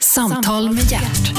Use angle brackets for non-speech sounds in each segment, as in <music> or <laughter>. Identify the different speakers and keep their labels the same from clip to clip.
Speaker 1: Samtal med hjärt.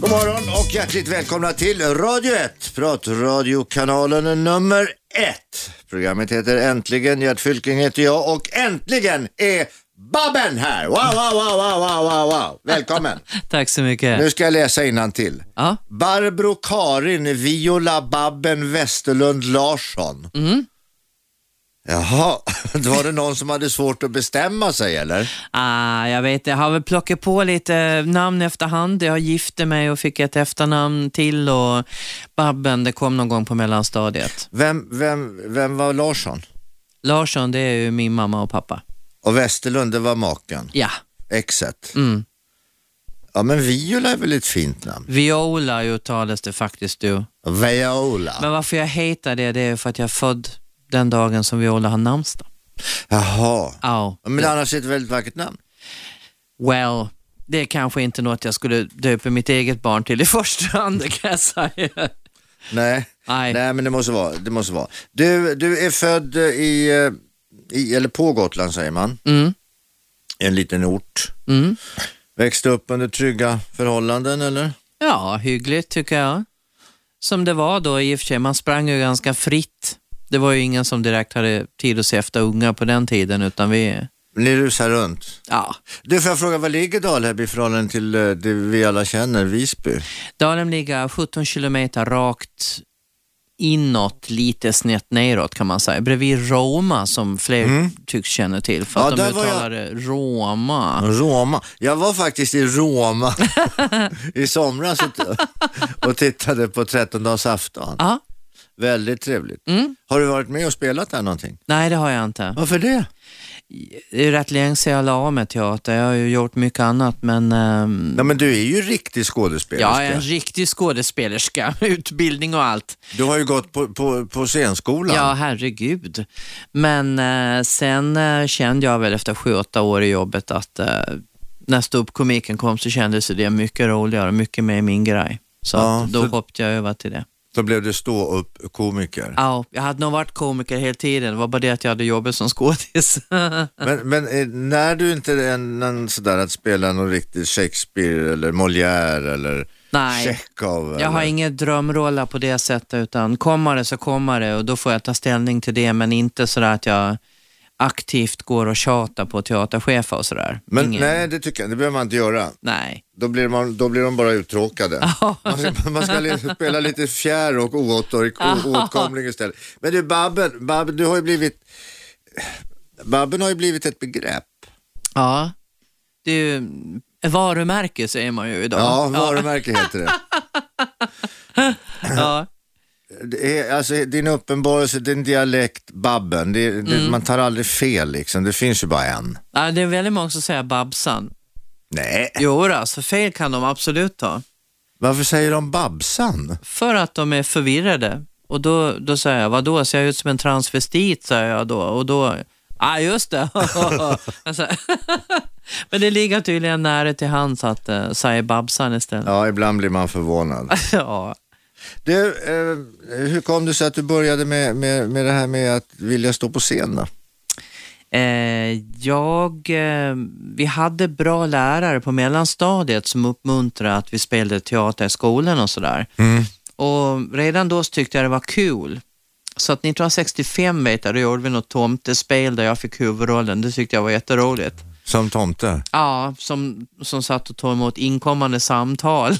Speaker 2: God morgon och hjärtligt välkomna till Radio 1, pratradiokanalen nummer 1. Programmet heter Äntligen, Gert Fylking heter jag och äntligen är Babben här! Wow, wow, wow, wow, wow, wow, wow. Välkommen!
Speaker 3: Tack så mycket.
Speaker 2: Nu ska jag läsa till.
Speaker 3: Ja.
Speaker 2: Barbro Karin Viola Babben Westerlund Larsson. Jaha, <laughs> då var det någon som hade svårt att bestämma sig eller?
Speaker 3: Ah, jag vet, jag har väl plockat på lite namn efterhand. Jag gifte mig och fick ett efternamn till och Babben, det kom någon gång på mellanstadiet.
Speaker 2: Vem, vem, vem var Larsson?
Speaker 3: Larsson, det är ju min mamma och pappa.
Speaker 2: Och Westerlund, det var maken.
Speaker 3: Ja.
Speaker 2: Exet.
Speaker 3: Mm.
Speaker 2: Ja, men Viola är väl ett fint namn?
Speaker 3: Viola uttalas det faktiskt du.
Speaker 2: Viola.
Speaker 3: Men varför jag heter det, det är för att jag är född den dagen som Viola har namnsdag.
Speaker 2: Jaha.
Speaker 3: Ja.
Speaker 2: Men annars är det ett väldigt vackert namn.
Speaker 3: Well, det är kanske inte något jag skulle döpa mitt eget barn till i första hand, det kan jag säga.
Speaker 2: Nej,
Speaker 3: Nej.
Speaker 2: Nej men det måste vara. Det måste vara. Du, du är född eh, i, eh, i, eller på Gotland säger man,
Speaker 3: Mm.
Speaker 2: i en liten ort.
Speaker 3: Mm.
Speaker 2: Växte upp under trygga förhållanden eller?
Speaker 3: Ja, hyggligt tycker jag. Som det var då i och för sig, man sprang ju ganska fritt. Det var ju ingen som direkt hade tid att se efter unga på den tiden, utan vi...
Speaker 2: Ni rusar runt.
Speaker 3: Ja,
Speaker 2: Du, får jag fråga, var ligger Dalhäll i förhållande till eh, det vi alla känner, Visby?
Speaker 3: Dalen ligger 17 kilometer rakt inåt, lite snett neråt kan man säga. Bredvid Roma som fler tycks känna till, för
Speaker 2: Mm. Ja,
Speaker 3: att
Speaker 2: där
Speaker 3: de
Speaker 2: var jag.
Speaker 3: uttalar det Roma.
Speaker 2: Roma. Jag var faktiskt i
Speaker 3: <laughs>
Speaker 2: Roma i somras och, och tittade på 13-dagsafton.
Speaker 3: Ja,
Speaker 2: Väldigt trevligt.
Speaker 3: Mm.
Speaker 2: Har du varit med och spelat där någonting?
Speaker 3: nej det har jag inte.
Speaker 2: Varför det?
Speaker 3: Det är ju rätt länge sedan jag la av med teater. Jag har ju gjort mycket annat, men... ehm,
Speaker 2: Nej men du är ju riktig skådespelerska.
Speaker 3: Jag är en riktig skådespelerska, <laughs> utbildning och allt.
Speaker 2: Du har ju gått på, på, på scenskolan.
Speaker 3: Ja, herregud. Men eh, sen eh, kände jag väl efter sju, åtta år i jobbet att eh, när ståuppkomiken kom så kändes det mycket roligare och mycket mer min grej. Så
Speaker 2: Ja,
Speaker 3: att då
Speaker 2: så-
Speaker 3: hoppade jag över till det.
Speaker 2: Då blev du stå upp komiker.
Speaker 3: Ja, jag hade nog varit komiker hela tiden, det var bara det att jag hade jobbat som skådis. <laughs>
Speaker 2: Men, men eh, när du inte är en, en sådär att spela någon riktig Shakespeare eller Molière eller
Speaker 3: Nej.
Speaker 2: Chekhov.
Speaker 3: Jag har
Speaker 2: eller-
Speaker 3: inga drömroller på det sättet, utan kommer det så kommer det och då får jag ta ställning till det, men inte sådär att jag aktivt går och tjatar på teaterchefer och sådär.
Speaker 2: Men
Speaker 3: Ingen-
Speaker 2: nej, det tycker jag, det behöver man inte göra.
Speaker 3: Nej.
Speaker 2: Då blir, man, då blir de bara uttråkade.
Speaker 3: Ja.
Speaker 2: Man ska, man ska li- spela lite fjär och oåttor- o- oåtkomling istället. Men du Babben, Babben, du har ju blivit, Babben har ju blivit ett begrepp.
Speaker 3: Ja. Det är ju varumärke säger man ju idag.
Speaker 2: Ja, varumärke heter det.
Speaker 3: Ja.
Speaker 2: det är, alltså, din uppenbarelse, din dialekt, Babben, det, det, man tar aldrig fel liksom. Det finns ju bara en.
Speaker 3: ja. Det är väldigt många som säger Babsan.
Speaker 2: Nej,
Speaker 3: Jo, då, så fel kan de absolut ta.
Speaker 2: varför säger de Babsan?
Speaker 3: För att de är förvirrade. Och då, då säger jag, vadå, ser jag ut som en transvestit? säger jag då. Och då, ja ah, just det. <laughs> Alltså, <laughs> Men det ligger tydligen nära till hands att eh, säga Babsan istället.
Speaker 2: Ja, ibland blir man förvånad.
Speaker 3: <laughs> Ja.
Speaker 2: Du, eh, hur kom det sig att du började med, med, med det här med att vilja stå på scen då?
Speaker 3: Eh, jag, eh, vi hade bra lärare på mellanstadiet som uppmuntrade att vi spelade teater i skolan och sådär.
Speaker 2: Mm.
Speaker 3: Och redan då så tyckte jag det var kul. Så att 1965 vet jag, då gjorde vi något tomtespel där jag fick huvudrollen. Det tyckte jag var jätteroligt.
Speaker 2: Som tomte?
Speaker 3: Ja, som, som satt och tog emot
Speaker 2: <laughs>
Speaker 3: inkommande samtal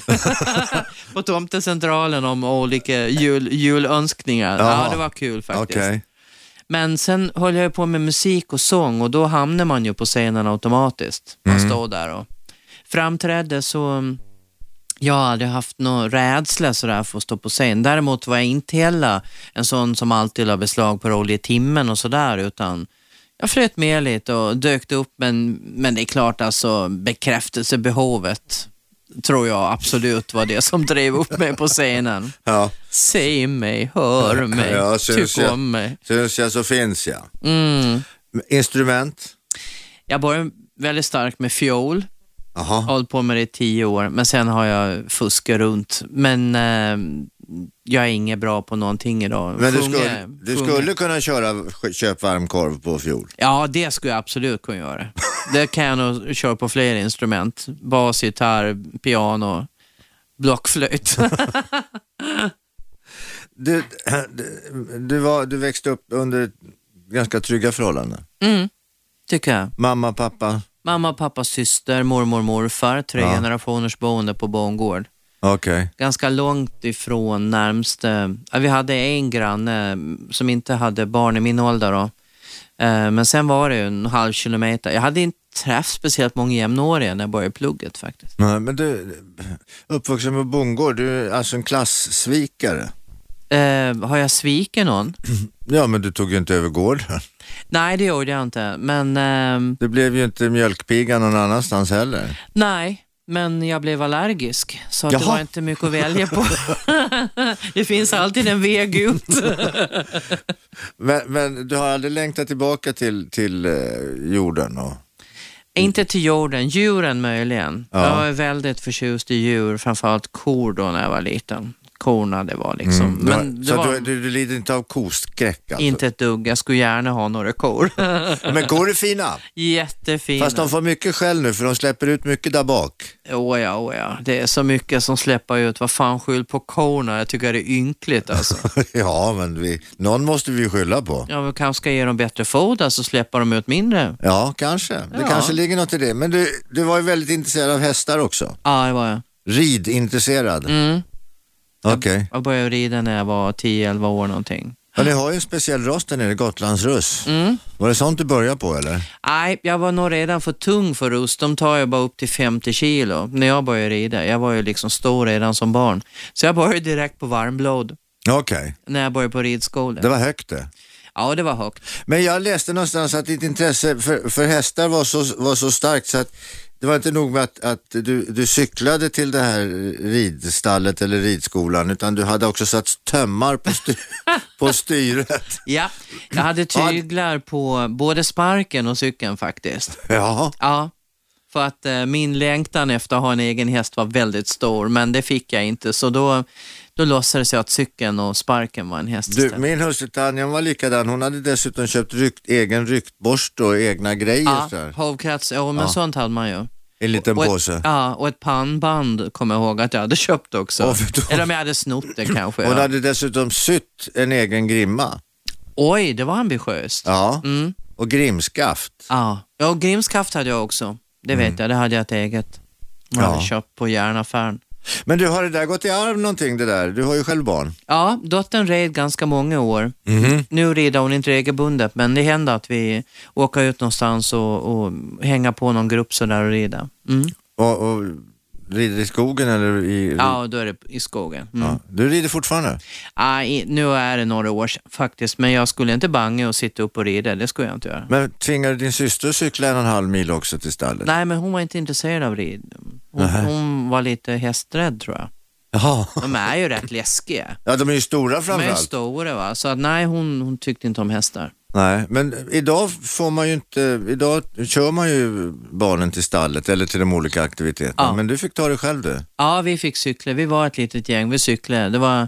Speaker 3: på Tomtecentralen om olika jul, julönskningar.
Speaker 2: Jaha.
Speaker 3: Ja, det var kul faktiskt.
Speaker 2: Okej.
Speaker 3: Men sen höll jag ju på med musik och sång och då hamnade man ju på scenen automatiskt. Man
Speaker 2: Mm.
Speaker 3: stod där och framträdde så mm, jag har aldrig haft någon rädsla sådär för att stå på scen. Däremot var jag inte heller en sån som alltid la beslag på roll i timmen och sådär utan jag flöt med lite och dök upp men, men det är klart alltså bekräftelsebehovet tror jag absolut var det som drev upp mig
Speaker 2: <laughs>
Speaker 3: på scenen.
Speaker 2: Ja.
Speaker 3: Se mig, hör mig,
Speaker 2: Ja, syns
Speaker 3: tyck
Speaker 2: jag.
Speaker 3: om mig.
Speaker 2: Syns jag så finns jag.
Speaker 3: Mm.
Speaker 2: Instrument?
Speaker 3: Jag började väldigt starkt med fiol,
Speaker 2: Jaha.
Speaker 3: hållit på med det i tio år, men sen har jag fuskat runt. Men eh, jag är inget bra på någonting idag.
Speaker 2: Men du
Speaker 3: Sjunga-
Speaker 2: skulle, du
Speaker 3: sjunga.
Speaker 2: skulle kunna köra sk- Köp varmkorv på fiol?
Speaker 3: Ja, det skulle jag absolut kunna göra. Det kan jag nog köra på fler instrument. Bas, gitarr, piano,
Speaker 2: <laughs>
Speaker 3: blockflöjt.
Speaker 2: Du, du, du, var, du växte upp under ganska trygga förhållanden.
Speaker 3: Mm, tycker jag.
Speaker 2: Mamma, pappa?
Speaker 3: Mamma, pappa, syster, mormor, morfar. Tre
Speaker 2: Ja.
Speaker 3: generationers boende på bondgård.
Speaker 2: Okej.
Speaker 3: ganska långt ifrån närmste. ja, Vi hade en granne mm, som inte hade barn i min ålder. Då. Eh, Men sen var det ju en halv kilometer. Jag hade inte träffat speciellt många jämnåriga när jag började plugget faktiskt.
Speaker 2: Nej, men du, uppvuxen på bondgård, du är alltså en klassvikare.
Speaker 3: Eh, har jag svikit någon?
Speaker 2: Ja, men du tog ju inte över gården.
Speaker 3: Nej, det gjorde jag inte. Men ehm,
Speaker 2: Du blev ju inte mjölkpiga någon annanstans heller.
Speaker 3: nej, men jag blev allergisk. Så att det
Speaker 2: Jaha.
Speaker 3: var inte mycket att välja på. <laughs> det finns alltid en väg ut.
Speaker 2: Men, men du har aldrig längtat tillbaka till, till eh, jorden? Och...
Speaker 3: Inte till jorden, djuren möjligen.
Speaker 2: Mm. Ja.
Speaker 3: Jag är väldigt förtjust i djur, framförallt kor då när jag var liten. Korna det var liksom.
Speaker 2: Du har-
Speaker 3: Men det
Speaker 2: Mm. så att
Speaker 3: var
Speaker 2: du, du, du lider inte av koskräck alltså?
Speaker 3: inte ett dugg. Jag skulle gärna ha några
Speaker 2: <laughs>
Speaker 3: kor.
Speaker 2: Men kor är
Speaker 3: <laughs>
Speaker 2: fina.
Speaker 3: Jättefina.
Speaker 2: Fast de får mycket skäll nu för de släpper ut mycket där bak. <laughs>
Speaker 3: Åh ja, åh ja. Det är så mycket som släpper ut. Vad fan, skyll på korna. Jag tycker det är ynkligt alltså.
Speaker 2: <laughs> ja, men vi, någon måste vi skylla på.
Speaker 3: Ja, vi kanske ska ge dem bättre foder så släpper de ut mindre.
Speaker 2: Ja, kanske. Det
Speaker 3: Ja.
Speaker 2: kanske ligger något i det. Men du, du var ju väldigt intresserad av hästar också.
Speaker 3: Ja, det var jag.
Speaker 2: Ridintresserad.
Speaker 3: Mm.
Speaker 2: Okej.
Speaker 3: Jag började rida när jag var 10-11 år någonting.
Speaker 2: Ja, ni har ju en speciell ras där nere, Gotlandsruss.
Speaker 3: Mm.
Speaker 2: Var det sånt du började på eller?
Speaker 3: Nej, jag var nog redan för tung för russ. De tar ju bara upp till 50 kilo när jag började rida. Jag var ju liksom stor redan som barn. Så jag började direkt på varmblod
Speaker 2: Okej,
Speaker 3: när jag började på ridskolan.
Speaker 2: det var högt det.
Speaker 3: Ja, det var högt.
Speaker 2: Men jag läste någonstans att ditt intresse för, för hästar var så, var så starkt så att det var inte nog med att, att du, du cyklade till det här ridstallet eller ridskolan utan du hade också satt tömmar på,
Speaker 3: <laughs>
Speaker 2: sty- på styret.
Speaker 3: Ja, jag hade tyglar på både sparken och cykeln faktiskt.
Speaker 2: Ja.
Speaker 3: Ja, för att eh, min längtan efter att ha en egen häst var väldigt stor, men det fick jag inte. Så då, då låtsades jag att cykeln och sparken var en häst
Speaker 2: Du,
Speaker 3: istället.
Speaker 2: min hustru Tanja var likadan. Hon hade dessutom köpt rykt, egen ryktborste och egna grejer
Speaker 3: Ja,
Speaker 2: sådär,
Speaker 3: hovkrets, ja, men sånt hade man ju.
Speaker 2: i en liten
Speaker 3: Och ett-
Speaker 2: påse.
Speaker 3: Ja, och ett pannband kommer jag ihåg att jag hade köpt också.
Speaker 2: Åh, för då-
Speaker 3: Eller om jag hade snott
Speaker 2: <clears throat>
Speaker 3: det kanske.
Speaker 2: Hon
Speaker 3: ja.
Speaker 2: hade dessutom sytt en egen grimma.
Speaker 3: Oj, det var ambitiöst. Ja.
Speaker 2: Ja.
Speaker 3: Mm.
Speaker 2: Och grimskaft.
Speaker 3: ja. ja och Grimskaft hade jag också. Det vet jag, det hade jag ett eget. Man
Speaker 2: Mm. Ja.
Speaker 3: hade köpt på järnaffären.
Speaker 2: Men du, har det där gått i arv någonting det där? Du har ju själv barn.
Speaker 3: Ja, dottern red ganska många år.
Speaker 2: Mhm.
Speaker 3: Nu rider hon inte regelbundet, men det händer att vi åker ut någonstans och, och hänger på någon grupp sådär och rider. Mm.
Speaker 2: Och, och rider i skogen eller i...
Speaker 3: Ja, och då är det i skogen. Mm.
Speaker 2: Ja. Du rider fortfarande?
Speaker 3: Ah, i, nu är det några år sedan faktiskt, men jag skulle inte banga och sitta upp och rida. Det skulle jag inte göra.
Speaker 2: Men tvingar du din syster att cykla en och en halv mil också till stallet?
Speaker 3: Nej, men hon var inte intresserad av rid. Hon, hon var lite hästrädd tror jag.
Speaker 2: Jaha.
Speaker 3: De är ju rätt läskiga.
Speaker 2: Ja, de är ju stora
Speaker 3: De är ju
Speaker 2: framförallt.
Speaker 3: stora va, så att, nej hon, hon tyckte inte om hästar.
Speaker 2: Nej, men idag får man ju inte... Idag kör man ju barnen till stallet eller till de olika aktiviteterna.
Speaker 3: Ja.
Speaker 2: Men du fick ta det själv du.
Speaker 3: Ja, vi fick cykla. Vi var ett litet gäng, vi cyklade. Det var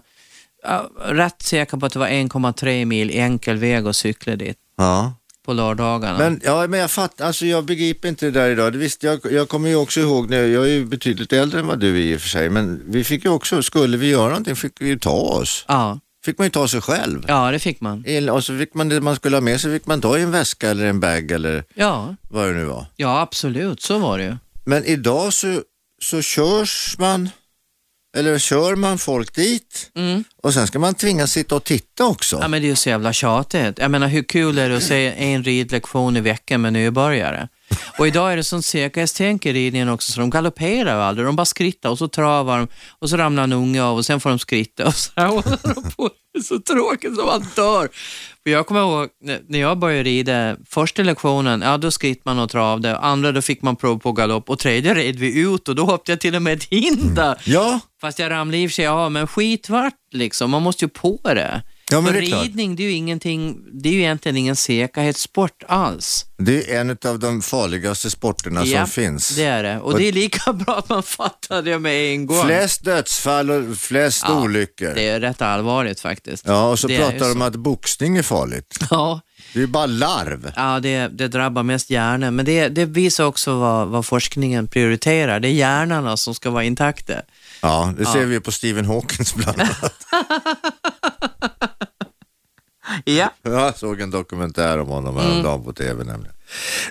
Speaker 3: ja, rätt säker på att det var 1,3 mil enkel väg att cykla dit
Speaker 2: Ja.
Speaker 3: på lördagarna.
Speaker 2: Men, ja, men jag fattar, alltså jag begriper inte det där idag. Det visste jag, jag kommer ju också ihåg, när, jag är ju betydligt äldre än vad du är i och för sig, men vi fick ju också, skulle vi göra någonting fick vi ju ta oss.
Speaker 3: Ja,
Speaker 2: Fick man ju ta sig själv.
Speaker 3: ja, det fick man.
Speaker 2: I- Och så fick man det man skulle ha med sig, fick man ta i en väska eller en bag eller
Speaker 3: Ja,
Speaker 2: vad det nu var.
Speaker 3: ja absolut, så var det ju.
Speaker 2: Men idag så, så körs man, eller kör man folk dit
Speaker 3: Mm.
Speaker 2: och sen ska man tvingas sitta och titta också.
Speaker 3: Ja, men det är ju så jävla tjatigt. Jag menar, hur kul är det att se en ridlektion i veckan med nybörjare? Och idag är det sånt säkerhetstänk i ridningen också, så de galopperar ju aldrig. De bara skrittar och så travar de och så ramlar en unge av och sen får de skritta och så här håller de på. Det är så tråkigt som man dör. För jag kommer ihåg när- när jag började rida, första lektionen, ja då skritt man och travade, andra då fick man prov på galopp och tredje red vi ut och då hoppade jag till och med ett hinder.
Speaker 2: Ja,
Speaker 3: Fast jag ramlade i och för sig av, men skit vart liksom. Man måste ju på det.
Speaker 2: Ja, men
Speaker 3: För
Speaker 2: det är klart.
Speaker 3: ridning, det är ju ingenting, det är ju egentligen ingen säkerhetssport alls.
Speaker 2: Det är en av de farligaste sporterna
Speaker 3: Ja,
Speaker 2: som finns.
Speaker 3: Det är det. Och det är lika <laughs> bra att man fattar det med en gång.
Speaker 2: Flest dödsfall och flest
Speaker 3: Ja,
Speaker 2: olyckor.
Speaker 3: Det är rätt allvarligt faktiskt.
Speaker 2: Ja, och så
Speaker 3: Det är ju
Speaker 2: pratar de om
Speaker 3: så. <laughs>
Speaker 2: att boxning är farligt.
Speaker 3: Ja,
Speaker 2: Det är ju bara larv.
Speaker 3: ja det, det drabbar mest hjärnan. Men det, det visar också vad, vad forskningen prioriterar. Det är hjärnorna som ska vara intakta.
Speaker 2: Ja, det ser vi ju på Stephen Hawkins bland
Speaker 3: <laughs>
Speaker 2: annat.
Speaker 3: Ja.
Speaker 2: <laughs> Jag såg en dokumentär om honom
Speaker 3: Mm.
Speaker 2: häromdagen på tv nämligen.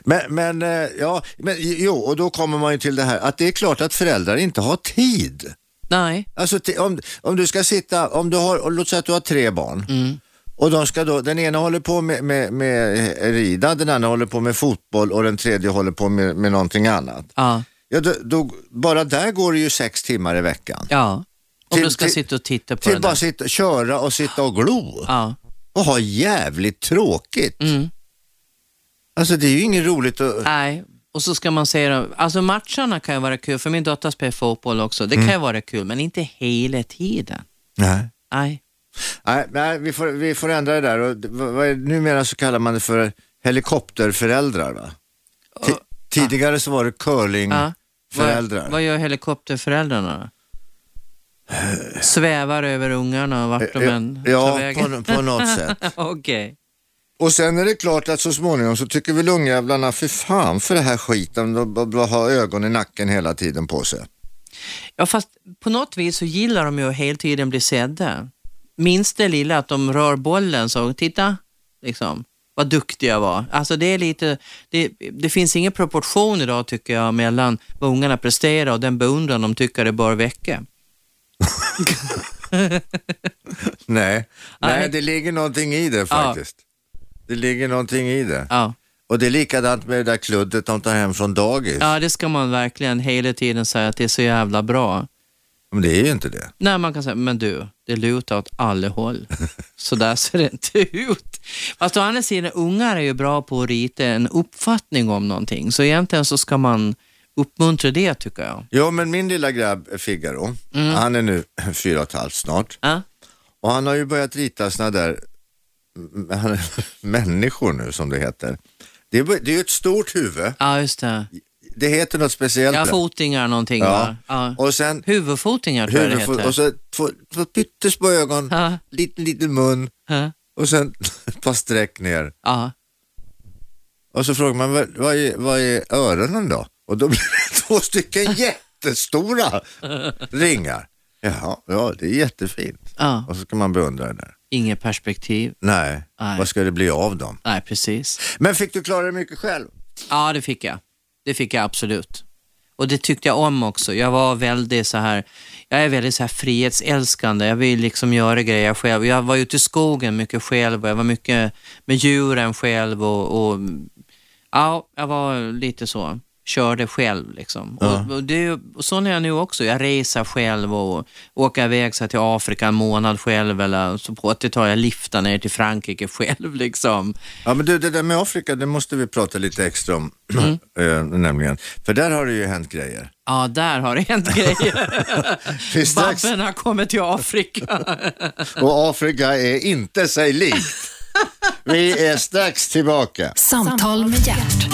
Speaker 2: Men, men, eh, ja, men jo, och då kommer man ju till det här att det är klart att föräldrar inte har tid.
Speaker 3: Nej.
Speaker 2: Alltså ti- om, om du ska sitta, om du har, och låt säga att du har tre barn.
Speaker 3: Mm.
Speaker 2: Och de ska då, den ena håller på med, med, med rida, den andra håller på med fotboll och den tredje håller på med, med någonting annat.
Speaker 3: Ja.
Speaker 2: Ja, då, då, bara där går det ju sex timmar i veckan.
Speaker 3: ja. Om
Speaker 2: Till-
Speaker 3: du ska
Speaker 2: till-
Speaker 3: sitta och titta på
Speaker 2: Till
Speaker 3: den
Speaker 2: bara
Speaker 3: där.
Speaker 2: sitta, köra och sitta och glo
Speaker 3: Ja.
Speaker 2: och ha jävligt tråkigt.
Speaker 3: Mm.
Speaker 2: Alltså det är ju inget roligt att...
Speaker 3: Nej. Och så ska man säga, alltså matcherna kan ju vara kul, för min dotter spelar fotboll också. Det
Speaker 2: Mm.
Speaker 3: kan ju vara kul, men inte hela tiden.
Speaker 2: Nej.
Speaker 3: Nej.
Speaker 2: Nej, nej vi, får, vi får ändra det där. Och, det- vad, vad är, numera så kallar man det för helikopterföräldrar va? Ti- tidigare så var det
Speaker 3: Ja.
Speaker 2: curlingföräldrar.
Speaker 3: Vad, vad gör helikopterföräldrarna då? Svävar över ungarna och vart de än tar
Speaker 2: Eh, ja,
Speaker 3: vägen?
Speaker 2: på, på något sätt.
Speaker 3: <laughs> Okej.
Speaker 2: Och sen är det klart att så småningom så tycker väl ungjävlarna, för fan för det här skiten, de, de, de har ögon i nacken hela tiden på sig.
Speaker 3: Ja, fast på något vis så gillar de ju att hela tiden bli sedda. Minst det lilla att de rör bollen så, titta, liksom, vad duktig jag var. Alltså det är lite, det, det finns ingen proportion idag tycker jag mellan vad ungarna presterar och den beundran de tycker det bör väcka.
Speaker 2: Nej. Nej,
Speaker 3: Nej.
Speaker 2: det ligger någonting i det faktiskt. Det ligger någonting i det.
Speaker 3: Ja.
Speaker 2: Och det är likadant med det där kluddet de tar hem från dagis.
Speaker 3: ja, det ska man verkligen hela tiden säga att det är så jävla bra.
Speaker 2: Men det är ju inte det.
Speaker 3: Nej, man kan säga, men du, det lutar åt alla håll. Så där ser det inte ut. Fast å andra sidan, ungar är ju bra på att rita en uppfattning om någonting. Så egentligen så ska man uppmuntra det tycker jag.
Speaker 2: Jo, men min lilla grabb eh, Figaro,
Speaker 3: Mm.
Speaker 2: han är nu <laughs> fyra och ett halvt snart.
Speaker 3: Ja,
Speaker 2: Och han har ju börjat rita såna där m- m- <laughs> människor nu som det heter. Det är, bu- det är ju ett stort huvud.
Speaker 3: ja just det.
Speaker 2: Det heter något speciellt.
Speaker 3: Ja,
Speaker 2: där.
Speaker 3: fotingar någonting va? Ja.
Speaker 2: Och sen
Speaker 3: Huvudfotingar tror jag det
Speaker 2: huvud,
Speaker 3: heter.
Speaker 2: och så två, två pyttesmå ögon,
Speaker 3: Ja.
Speaker 2: liten, liten mun
Speaker 3: Ja.
Speaker 2: och sen <laughs> ett par streck ner.
Speaker 3: Ja.
Speaker 2: Och så frågar man, vad, vad, är, vad är öronen då? Och då blir det <laughs> två stycken jättestora ringar. Jaha, ja det är jättefint.
Speaker 3: Ja.
Speaker 2: Och så ska man beundra det där.
Speaker 3: Inget perspektiv.
Speaker 2: Nej,
Speaker 3: Nej.
Speaker 2: vad ska det bli av dem?
Speaker 3: Nej, precis.
Speaker 2: Men fick du klara dig mycket själv?
Speaker 3: Ja, det fick jag. Det fick jag absolut. Och det tyckte jag om också. Jag var väldigt så här, jag är väldigt så här frihetsälskande. Jag vill liksom göra grejer själv. Jag var ute i skogen mycket själv och jag var mycket med djuren själv och, och ja, jag var lite så, körde själv liksom. Och, och, det, och sån är jag nu också. Jag reser själv och åker iväg så här, till Afrika en månad själv eller så på 80 tar jag liftar ner till Frankrike <laughs> själv liksom.
Speaker 2: Ja men du, det där med Afrika, det måste vi prata lite extra om. <clears throat>
Speaker 3: Mm.
Speaker 2: eh, nämligen. För där har det ju hänt grejer.
Speaker 3: Ja, där har det hänt grejer.
Speaker 2: <laughs> För strax,
Speaker 3: Babben har kommit till
Speaker 2: <laughs>
Speaker 3: Afrika.
Speaker 2: och Afrika är inte sig
Speaker 3: <laughs>
Speaker 2: likt. Vi är strax tillbaka.
Speaker 1: Samtal med hjärt.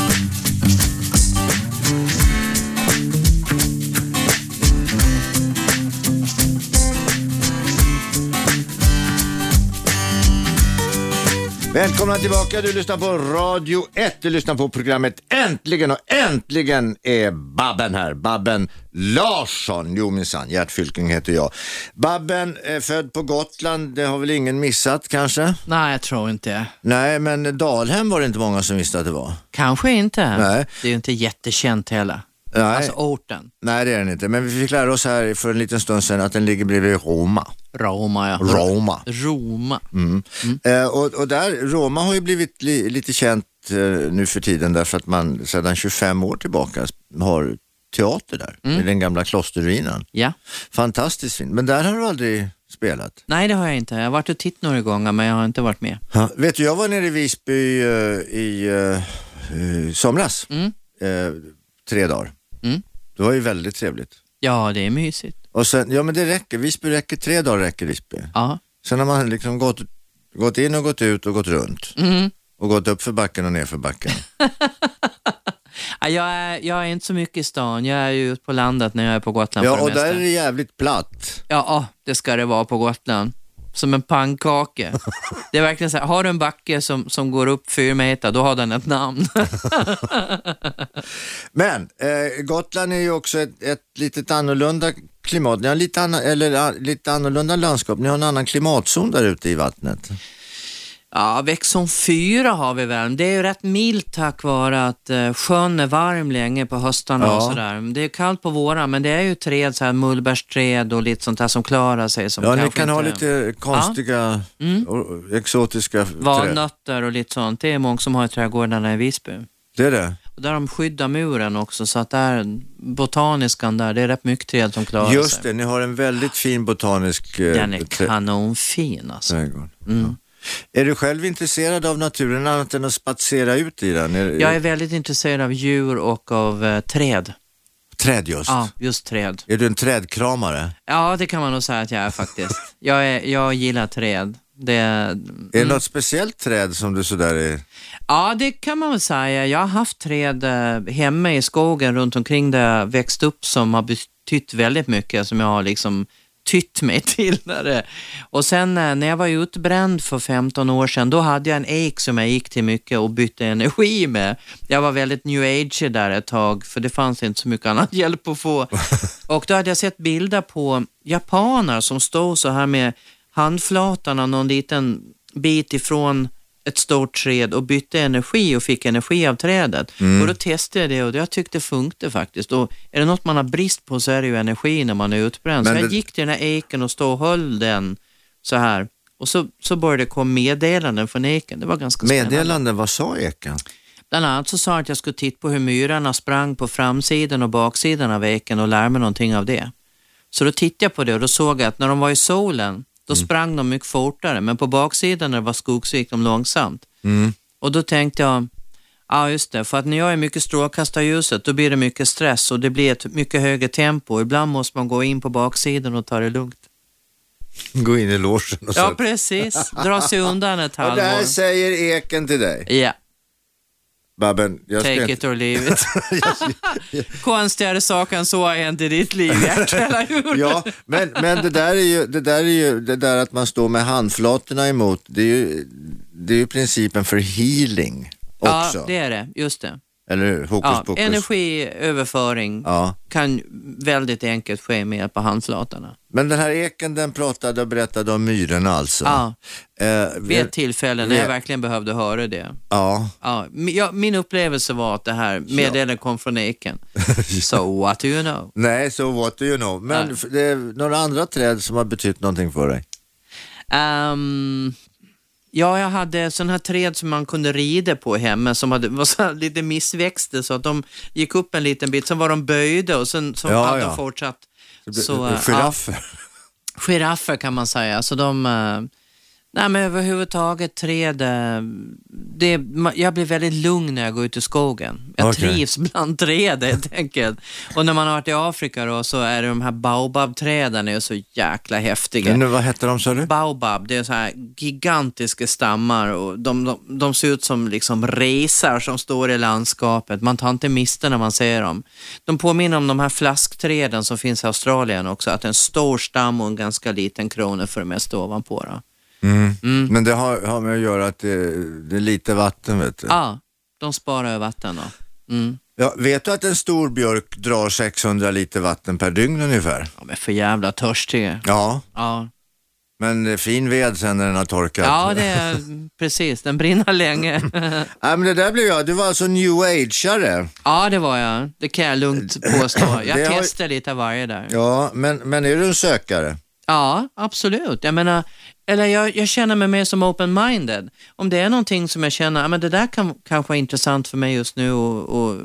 Speaker 2: Välkomna tillbaka, du lyssnar på Radio 1, du lyssnar på programmet Äntligen och äntligen är Babben här, Babben Larsson, jo minsann, Gert Fylking heter jag. Babben är född på Gotland, det har väl ingen missat kanske?
Speaker 3: Nej, jag tror inte.
Speaker 2: Nej, men Dalhem var det inte många som visste att det var.
Speaker 3: Kanske inte.
Speaker 2: Nej.
Speaker 3: Det är ju inte jättekänt heller.
Speaker 2: Nej,
Speaker 3: Alltså orten,
Speaker 2: nej det är den inte, men vi fick lära oss här för en liten stund sedan att den ligger bredvid Roma.
Speaker 3: Roma ja.
Speaker 2: Roma.
Speaker 3: Roma.
Speaker 2: Eh, och, och där, Roma har ju blivit li, lite känt eh, nu för tiden därför att man sedan 25 år tillbaka har teater där, i den gamla klosterruinen.
Speaker 3: Ja.
Speaker 2: Fantastiskt fint, men där har du aldrig spelat.
Speaker 3: Nej, det har jag inte. Jag har varit och tittat några gånger, men jag har inte varit med.
Speaker 2: Ja, vet du, jag var nere i Visby eh, i eh, eh, somras, eh, tre dagar.
Speaker 3: Mm.
Speaker 2: Det var ju väldigt trevligt.
Speaker 3: Ja, det är mysigt.
Speaker 2: Och sen, ja men det räcker, Visby räcker, tre dagar räcker Visby.
Speaker 3: Ja.
Speaker 2: Sen har man liksom gått Gått in och gått ut och gått runt.
Speaker 3: Mm.
Speaker 2: Och gått upp för backen och ner för backen.
Speaker 3: Ja, jag, är, jag är inte så mycket i stan. Jag är ju ute på landet när jag är på Gotland. för
Speaker 2: Ja,
Speaker 3: det
Speaker 2: och
Speaker 3: mesta.
Speaker 2: där är det jävligt platt.
Speaker 3: Ja, ja, det ska det vara på Gotland. Som
Speaker 2: <laughs>
Speaker 3: en pannkaka. Det är verkligen så här, har du en backe som, som går upp fyra meter, då har den ett namn. <laughs>
Speaker 2: Men eh, Gotland är ju också ett, ett litet annorlunda klimat. Ni har lite, anna, eller, ah, lite annorlunda landskap. Ni har en annan klimatzon där ute i vattnet.
Speaker 3: Ja, Växholm 4 har vi väl. Det är ju rätt milt tack vare att eh, sjön är varm länge på höstarna och
Speaker 2: Ja.
Speaker 3: sådär. Det är kallt på våren, men det är ju träd, så här mullbärsträd och lite sånt där som klarar sig. Som
Speaker 2: Ja, ni
Speaker 3: kanske
Speaker 2: kan ha
Speaker 3: inte- Mm.
Speaker 2: lite konstiga, och- och exotiska träd.
Speaker 3: Valnötter och lite sånt. Det är många som har i trädgårdarna i Visby.
Speaker 2: Det är det.
Speaker 3: Och där de skyddar muren också, så att där, botaniskan där, det är rätt mycket träd som klarar sig.
Speaker 2: Just det, ni har en väldigt fin botanisk eh,
Speaker 3: Den är
Speaker 2: trä-
Speaker 3: kanonfin alltså.
Speaker 2: trädgård. Ja. Är du själv intresserad av naturen annat än att spatsera ut i den? Är,
Speaker 3: Jag är väldigt intresserad av djur och av eh, träd.
Speaker 2: Träd just.
Speaker 3: Ja, just träd.
Speaker 2: Är du en trädkramare?
Speaker 3: Ja, det kan man nog säga att jag är faktiskt. Jag, är, jag gillar träd. Det,
Speaker 2: Är
Speaker 3: Mm.
Speaker 2: det något speciellt träd som du sådär är...
Speaker 3: ja, det kan man väl säga. Jag har haft träd eh, hemma i skogen runt omkring där jag växte upp som har betytt väldigt mycket, som jag har liksom tytt mig <laughs> till. När det. Och sen eh, när jag var utbränd för 15 år sedan, då hade jag en ek som jag gick till mycket och bytte energi med. Jag var väldigt new age där ett tag, för det fanns inte så mycket annan <laughs> hjälp att få. Och då hade jag sett bilder på japaner som stod så här med handflatarna någon liten bit ifrån ett stort träd och bytte energi och fick energi av trädet.
Speaker 2: Mm.
Speaker 3: Och då testade jag det och jag tyckte det funkade faktiskt. Och är det något man har brist på så är det ju energi när man är utbränd.
Speaker 2: Men
Speaker 3: så jag
Speaker 2: det-
Speaker 3: gick till den här eken och stod och höll den så här. Och så, så började det komma meddelanden från eken. Det var ganska spännande.
Speaker 2: Meddelanden, vad sa eken?
Speaker 3: Bland annat så sa han att jag skulle titta på hur myrarna sprang på framsidan och baksidan av eken och lära mig någonting av det. Så då tittade jag på det och då såg jag att när de var i solen, då
Speaker 2: Mm.
Speaker 3: sprang de mycket fortare, men på baksidan när det var skog så gick de långsamt.
Speaker 2: Mm.
Speaker 3: Och då tänkte jag, ja just det, för att när jag är mycket strålkastarljuset, då blir det mycket stress och det blir ett mycket högre tempo. Ibland måste man gå in på baksidan och ta det lugnt.
Speaker 2: Gå in i logen och
Speaker 3: Ja,
Speaker 2: så.
Speaker 3: precis. Dra sig
Speaker 2: <laughs>
Speaker 3: undan ett
Speaker 2: Och det här
Speaker 3: halvår.
Speaker 2: säger eken till dig.
Speaker 3: Ja,
Speaker 2: Babben, jag ska
Speaker 3: take
Speaker 2: inte...
Speaker 3: it or leave
Speaker 2: <laughs>
Speaker 3: it. <laughs> Konstigare saker än så har hänt i
Speaker 2: <laughs>
Speaker 3: ditt liv, Gert, eller hur?
Speaker 2: Ja, men, men det, där är ju, det där är ju, det där att man står med handflatorna emot, det är ju, det är ju principen för healing också.
Speaker 3: Ja, det är det. Just det.
Speaker 2: Eller hur? Hokus
Speaker 3: Ja,
Speaker 2: pokus.
Speaker 3: energiöverföring
Speaker 2: Ja.
Speaker 3: kan väldigt enkelt ske med hjälp av handflatorna.
Speaker 2: Men den här eken den pratade och berättade om myrorna alltså.
Speaker 3: Ja.
Speaker 2: Eh,
Speaker 3: Vid ett tillfälle när
Speaker 2: vet-
Speaker 3: jag verkligen behövde höra det.
Speaker 2: ja.
Speaker 3: Ja, mi- ja, min upplevelse var att det här meddelandet kom
Speaker 2: <laughs>
Speaker 3: från eken. So what do you know?
Speaker 2: Nej, so what do you know. Men
Speaker 3: Nej.
Speaker 2: f- det är några andra träd som har betytt någonting för dig?
Speaker 3: Ehm, ja, jag hade sån här träd som man kunde rida på hemma som hade, <laughs> var så här lite missväxter så att de gick upp en liten bit, sen var de böjda och sen så
Speaker 2: Ja,
Speaker 3: hade
Speaker 2: ja.
Speaker 3: de fortsatt.
Speaker 2: Eh,
Speaker 3: Så,
Speaker 2: Giraffer.
Speaker 3: ja, giraffer kan man säga. Så de, eh, nej men överhuvudtaget träd, eh, det, ma- jag blir väldigt lugn när jag går ut i skogen. Jag
Speaker 2: Okej.
Speaker 3: trivs bland träd <laughs> helt enkelt. Och när man har varit i Afrika då så är det de här baobabträden är så jäkla häftiga.
Speaker 2: Nu, <laughs> vad hette de sa du?
Speaker 3: Baobab, det är så här gigantiska stammar och de, de, de ser ut som liksom resar som står i landskapet. Man tar inte miste när man ser dem. De påminner om de här flaskträden som finns i Australien också, att en stor stam och en ganska liten krona för det mesta ovanpå. Då.
Speaker 2: Mm.
Speaker 3: Mm.
Speaker 2: Men det har, har med att göra att det, det är lite vatten vet du.
Speaker 3: Ja, de sparar ju vatten då. Mm.
Speaker 2: Ja, vet du att en stor björk drar 600 liter vatten per dygn ungefär?
Speaker 3: De är för jävla törstiga.
Speaker 2: Ja,
Speaker 3: Ja,
Speaker 2: men det är fin ved sen när den har torkat.
Speaker 3: ja det är precis. Den brinner <laughs> länge.
Speaker 2: Nej, men det där blev jag. Du var alltså new ageare.
Speaker 3: ja, det var jag. Det kan jag lugnt påstå.
Speaker 2: Det
Speaker 3: Jag
Speaker 2: har-
Speaker 3: testar lite av varje där.
Speaker 2: Ja, men, men är du en sökare?
Speaker 3: Ja, absolut. Jag menar, eller jag, jag känner mig mer som open-minded. Om det är någonting som jag känner, ja, men det där kan, kanske är intressant för mig just nu och, och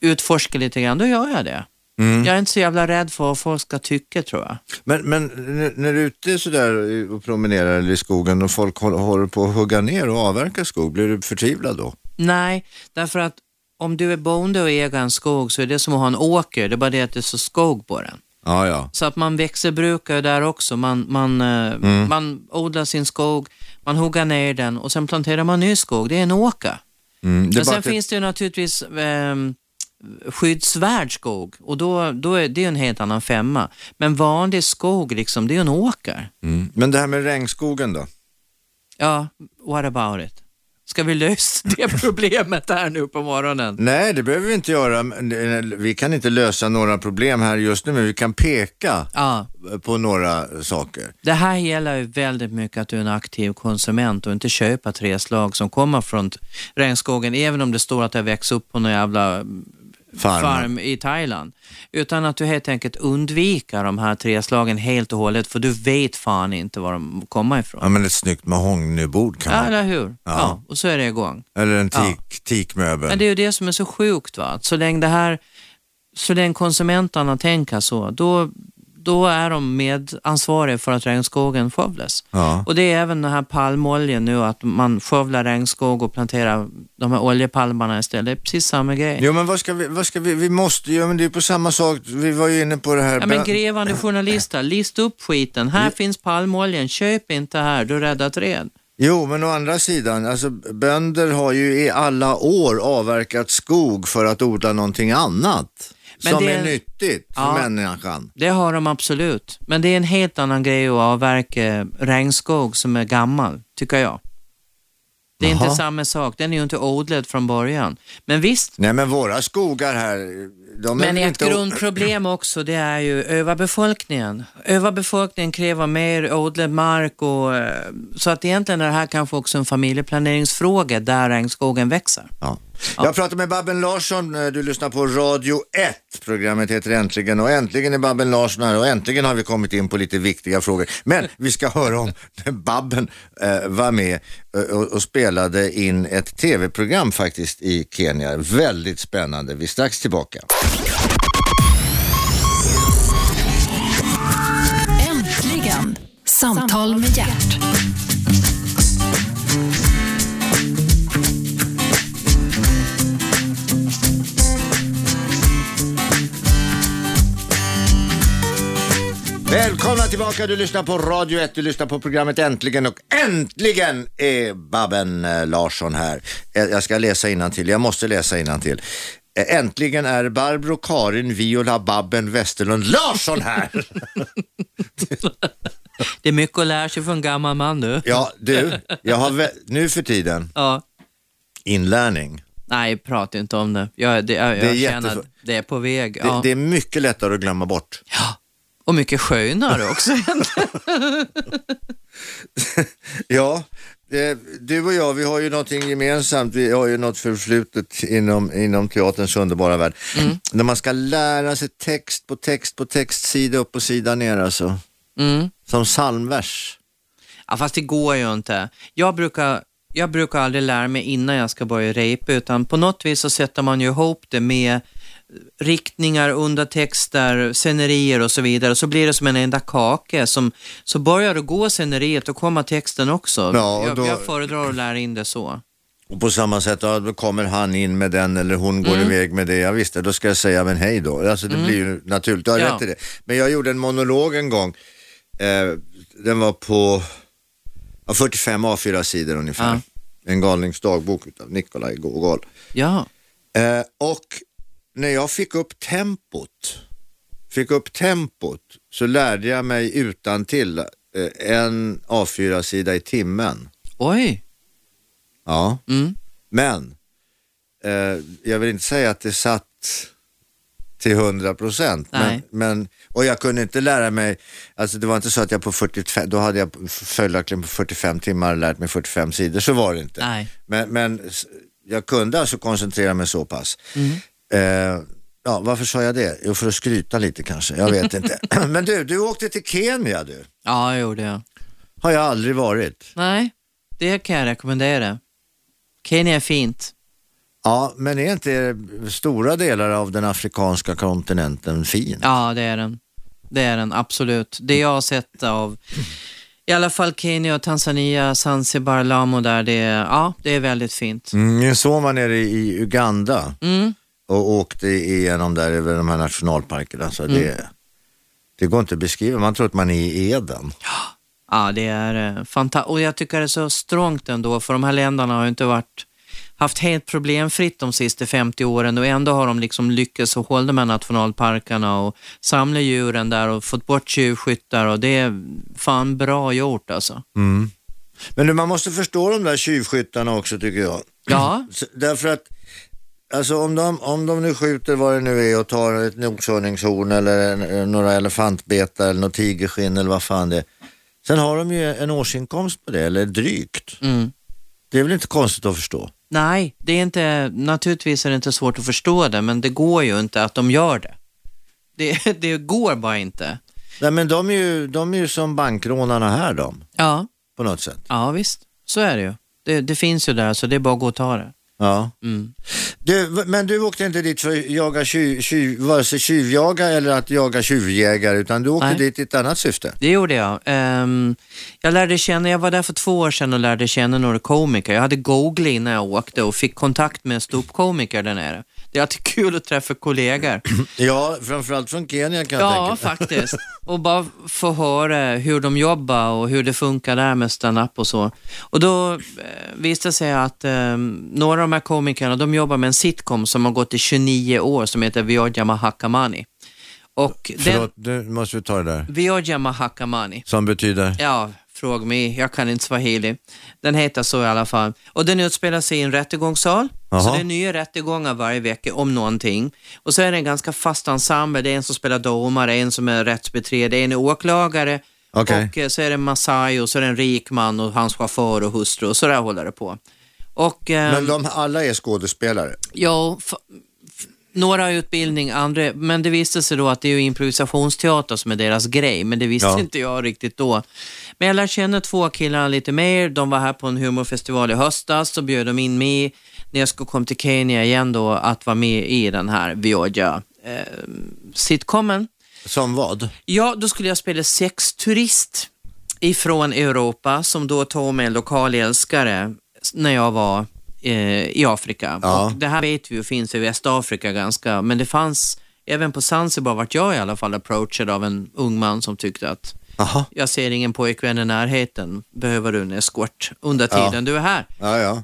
Speaker 3: utforska lite grann, då gör jag det. Jag är inte så jävla rädd för vad folk ska tycka tror jag.
Speaker 2: Men, men n- när du är ute sådär och promenerar eller i skogen och folk håller, håller på att hugga ner och avverka skog, blir du förtvivlad då?
Speaker 3: Nej, därför att om du är bonde och äger en skog så är det som att ha en åker, det är bara det att det är så skog på den.
Speaker 2: Ja, ja.
Speaker 3: Så att man växelbrukar där också. Man, man, eh, man odlar sin skog, man hugger ner den och sen planterar man ny skog. Det är en åker.
Speaker 2: Mm. Det är
Speaker 3: Men
Speaker 2: bara
Speaker 3: sen
Speaker 2: att
Speaker 3: finns det ju naturligtvis eh, skyddsvärd skog och då, då är det ju en helt annan femma. Men vanlig skog, liksom, det är ju en åker.
Speaker 2: Mm. Men det här med regnskogen då?
Speaker 3: Ja, what about it? Ska vi lösa <laughs> det problemet här nu på morgonen?
Speaker 2: Nej, det behöver vi inte göra. Men det- eh, Vi kan inte lösa några problem här just nu, men vi kan peka
Speaker 3: Ja,
Speaker 2: på några saker.
Speaker 3: det här gäller ju väldigt mycket att du är en aktiv konsument och inte köpa träslag som kommer från t- regnskogen, även om det står att det växer upp på någon jävla
Speaker 2: Farm.
Speaker 3: farm i Thailand. Utan att du helt enkelt undviker de här träslagen helt och hållet, för du vet fan inte var de kommer ifrån.
Speaker 2: Ja, men ett snyggt mahognybord kan
Speaker 3: Ja,
Speaker 2: man.
Speaker 3: eller hur? Ja. och så är det igång.
Speaker 2: Eller en teak, teakmöbel.
Speaker 3: Men det är ju det som är så sjukt. Va? Att så länge det här, så länge konsumenterna tänker så, då, då är de medansvariga för att regnskogen skövlas.
Speaker 2: Ja.
Speaker 3: Och det är även den här palmoljan nu, att man skövlar regnskog och planterar de här oljepalmarna istället. Det är precis samma grej.
Speaker 2: Jo, men vad ska vi, vad ska vi, vi måste ju, men det är på samma sak, vi var ju inne på det här.
Speaker 3: Ja, men
Speaker 2: brand-
Speaker 3: grävande journalister, lista upp skiten. Här finns palmoljan, köp inte här, du räddar träd.
Speaker 2: Jo, men å andra sidan, alltså bönder har ju i alla år avverkat skog för att odla någonting annat.
Speaker 3: Men
Speaker 2: som
Speaker 3: det-
Speaker 2: är nyttigt för
Speaker 3: Ja.
Speaker 2: människan.
Speaker 3: Det har de absolut, men det är en helt annan grej att avverka regnskog som är gammal, tycker jag. Det är
Speaker 2: Jaha.
Speaker 3: inte samma sak, den är ju inte odlad från början. Men visst,
Speaker 2: Nej, men våra skogar här, de är
Speaker 3: men
Speaker 2: väl
Speaker 3: ett
Speaker 2: inte...
Speaker 3: grundproblem också det är ju överbefolkningen. Överbefolkningen kräver mer odlad mark och eh, så att egentligen är det här kanske också en familjeplaneringsfråga där regnskogen växer.
Speaker 2: Ja. Jag pratar med Babben Larsson, eh, du lyssnar på Radio 1. Programmet heter Äntligen och äntligen är Babben Larsson här och äntligen har vi kommit in på lite viktiga frågor. Men vi ska höra om när Babben eh, var med eh, och, och spelade in ett tv-program faktiskt i Kenya. Väldigt spännande, vi är strax tillbaka.
Speaker 1: Äntligen! Samtal med hjärt.
Speaker 2: Välkomna tillbaka, du lyssnar på Radio 1, du lyssnar på programmet Äntligen och äntligen är Babben eh, Larsson här. Eh, Jag ska läsa till. jag måste läsa till. Äntligen är Barbro Karin Viola Babben Westerlund Larsson här.
Speaker 3: Det är mycket att lära sig från en gammal man du.
Speaker 2: Ja, du, jag har vä- nu för tiden
Speaker 3: Ja.
Speaker 2: inlärning.
Speaker 3: Nej, prata inte om det. Jag, det, jag,
Speaker 2: Det är
Speaker 3: jag känner att
Speaker 2: jättesvår-
Speaker 3: det är på väg.
Speaker 2: Det,
Speaker 3: ja.
Speaker 2: det är mycket lättare att glömma bort.
Speaker 3: Och mycket skönare
Speaker 2: <laughs>
Speaker 3: också.
Speaker 2: Ja, eh, du och jag, vi har ju någonting gemensamt. Vi har ju något förflutet inom, inom teaterns underbara värld.
Speaker 3: Mm.
Speaker 2: När man ska lära sig text på text på text, sida upp och sida ner alltså.
Speaker 3: Mm.
Speaker 2: Som psalmvers.
Speaker 3: Ja, fast det går ju inte. Jag brukar, jag brukar aldrig lära mig innan jag ska börja repa, utan på något vis så sätter man ju ihop det med riktningar, undertexter, scenerier och så vidare. Och så blir det som en enda kake. Som, så börjar det gå sceneriet och kommer texten också.
Speaker 2: Ja, och då-
Speaker 3: jag, jag föredrar att lära in det så.
Speaker 2: Och på samma sätt, ja, då kommer han in med den eller hon går
Speaker 3: Mm.
Speaker 2: iväg med det. Ja, visst, då ska jag säga men hej då. Alltså det blir ju naturligt, du har
Speaker 3: Ja.
Speaker 2: rätt i det. Men jag gjorde en monolog en gång. Eh, den var på ja, 45 A4-sidor ungefär.
Speaker 3: Ja.
Speaker 2: En galnings dagbok utav Nikolaj Gogol.
Speaker 3: Ja,
Speaker 2: Eh, och när jag fick upp tempot, fick upp tempot så lärde jag mig utan till eh, en A4-sida i timmen.
Speaker 3: oj.
Speaker 2: Ja,
Speaker 3: Mm.
Speaker 2: men eh, jag vill inte säga att det satt till 100 procent. Men,
Speaker 3: Nej.
Speaker 2: men, och jag kunde inte lära mig, alltså det var inte så att jag på 45, då hade jag följaktligen på 45 timmar lärt mig 45 sidor, så var det inte.
Speaker 3: Nej.
Speaker 2: Men, men s- jag kunde alltså koncentrera mig så pass.
Speaker 3: Mm.
Speaker 2: Eh, ja, varför sa jag det? Jo, för att skryta lite kanske. Jag
Speaker 3: <laughs>
Speaker 2: vet inte. Men du, du åkte till Kenya du.
Speaker 3: Ja, jag gjorde jag.
Speaker 2: Har jag aldrig varit.
Speaker 3: Nej, det kan jag rekommendera. Kenya är fint.
Speaker 2: Ja, men är inte stora delar av den afrikanska kontinenten fin?
Speaker 3: Ja, det är den. Det är den, absolut. Det jag har sett av i alla fall Kenya och Tanzania, Zanzibar, Lamo där, det är, ja, det är väldigt fint.
Speaker 2: Mm, min son var nere i Uganda
Speaker 3: Mm. Mm.
Speaker 2: och åkte igenom där över de här nationalparkerna. Så det, Det går inte att beskriva, man tror att man är i Eden.
Speaker 3: Ja, det är fantastiskt. Och jag tycker det är så strångt ändå, för de här länderna har ju inte varit, haft helt problemfritt de sista 50 åren och ändå har de liksom lyckats att hålla de här nationalparkerna och samla djuren där och fått bort tjuvskyttar och det är fan bra gjort alltså.
Speaker 2: Men du, man måste förstå de där tjuvskyttarna också tycker jag.
Speaker 3: Ja,
Speaker 2: S- Därför att Alltså om de, om de nu skjuter vad det nu är och tar ett noshörningshorn eller en, eh, några elefantbetar eller något tigerskinn eller vad fan det är. Sen har de ju en årsinkomst på det, eller drygt.
Speaker 3: mm.
Speaker 2: Det är väl inte konstigt att förstå.
Speaker 3: nej, det är inte, naturligtvis är det inte svårt att förstå det, men det går ju inte att de gör det. Det, <laughs> det går bara inte.
Speaker 2: Nej men de är ju, de är ju som bankrånarna här de,
Speaker 3: Ja,
Speaker 2: på något sätt.
Speaker 3: ja visst, så är det ju. Det, det finns ju där, så det är bara att gå och ta det.
Speaker 2: Ja.
Speaker 3: Mm.
Speaker 2: Du, v- men du åkte inte dit för att jaga tjuv, tjuv, vare sig tjuvjaga eller att jaga tjuvjägare utan du åkte
Speaker 3: Nej.
Speaker 2: dit i ett annat syfte.
Speaker 3: Det gjorde jag. Ehm, jag lärde känna, jag var där för två år sedan och lärde känna några komiker. Jag hade Google innan jag åkte och fick kontakt med en ståuppkomiker där nere. Det är alltid kul att träffa kollegor.
Speaker 2: Ja, framförallt från Kenya kan jag tänka
Speaker 3: Ja,
Speaker 2: mig.
Speaker 3: faktiskt. Och bara få höra hur de jobbar och hur det funkar där med stand-up och så. Och då eh, visade det sig att eh, några av de här komikerna, de jobbar med en sitcom som har gått i 29 år som heter Vyodja Mahakamani. Och den,
Speaker 2: Förlåt, nu måste vi ta det där.
Speaker 3: Vyodja Mahakamani.
Speaker 2: Som betyder?
Speaker 3: Ja, fråga mig. Jag kan inte swahili. Den heter så i alla fall. Och den utspelar sig i en rättegångssal. Så
Speaker 2: Jaha.
Speaker 3: det är nya rättegångar varje vecka om någonting. Och så är det en ganska fast ensemble. Det är en som spelar domare, en som är rättsbiträde, en är åklagare.
Speaker 2: Okej.
Speaker 3: Och eh, så är det en Masai och så är det en rik man och hans chaufför och hustru och så där håller det på. Och, ehm,
Speaker 2: Men de alla är skådespelare.
Speaker 3: Ja, f- f- några har utbildning, andra, men det visste sig då att det är ju improvisationsteater som är deras grej, men det visste
Speaker 2: Ja.
Speaker 3: inte jag riktigt då. Men jag lär känna två killar lite mer, de var här på en humorfestival i höstas, så bjöd de in mig när jag skulle komma till Kenya igen då, att vara med i den här Vioja eh, sitcomen.
Speaker 2: Som vad?
Speaker 3: Ja, då skulle jag spela sexturist ifrån Europa som då tog mig en lokal älskare när jag var eh, i Afrika.
Speaker 2: Ja.
Speaker 3: Och det här vet vi ju finns i Västafrika ganska, men det fanns även på Zanzibar vart jag i alla fall approachad av en ung man som tyckte att
Speaker 2: Aha.
Speaker 3: jag ser ingen pojkvän i närheten, behöver du en eskort under
Speaker 2: Ja.
Speaker 3: tiden du är här?
Speaker 2: Ja, ja.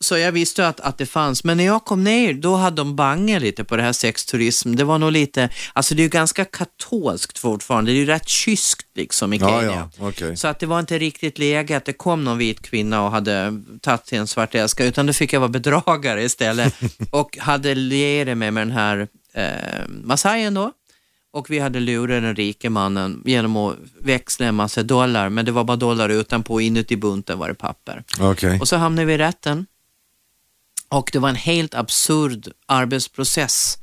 Speaker 3: Så jag visste att, att det fanns, men när jag kom ner då hade de bangat lite på det här sexturism. Det var nog lite, alltså det är ju ganska katolskt fortfarande, det är ju rätt kyskt liksom i
Speaker 2: Ja,
Speaker 3: Kenya.
Speaker 2: ja, okej.
Speaker 3: Så att det var inte riktigt läge att det kom någon vit kvinna och hade tagit till en svart älskare, utan då fick jag vara
Speaker 2: <laughs>
Speaker 3: bedragare istället och hade lierat mig med den här eh, massajen då. Och vi hade lurat den rike mannen genom att växla en massa dollar, men det var bara dollar utanpå, inuti bunten var det papper.
Speaker 2: Okej.
Speaker 3: Och så hamnade vi i rätten. Och det var en helt absurd arbetsprocess.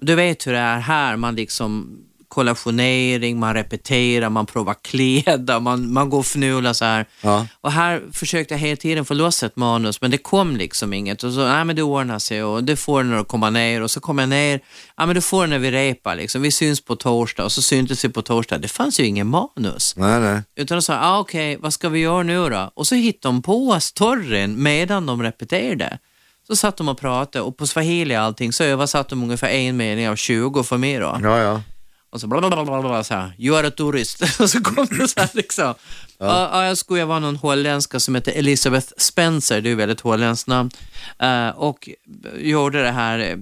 Speaker 3: Du vet hur det är här, man liksom kollationering, man repeterar, man provar kläder, man, man går och fnular så här.
Speaker 2: Ja.
Speaker 3: Och här försökte jag hela tiden få loss ett manus, men det kom liksom inget. Och så, nej men det ordnar sig och det får när du kommer ner. Och så kom jag ner, ja men du får när vi repar liksom. Vi syns på torsdag och så syntes vi på torsdag. Det fanns ju ingen manus.
Speaker 2: Nej, nej.
Speaker 3: Utan de sa, ah, okej, vad ska vi göra nu då? Och så hittade de på storyn medan de repeterade. Så satt de och pratade och på swahili och allting så översatte de ungefär en mening av 20 för mig då.
Speaker 2: Ja, ja.
Speaker 3: Och så bla bla bla bla, bla så här, you are a tourist. <laughs> och så kom det så här liksom. Ja. ja, jag skulle vara någon holländska som heter Elizabeth Spencer, det är ju väldigt holländskt namn. Eh, och gjorde det här eh,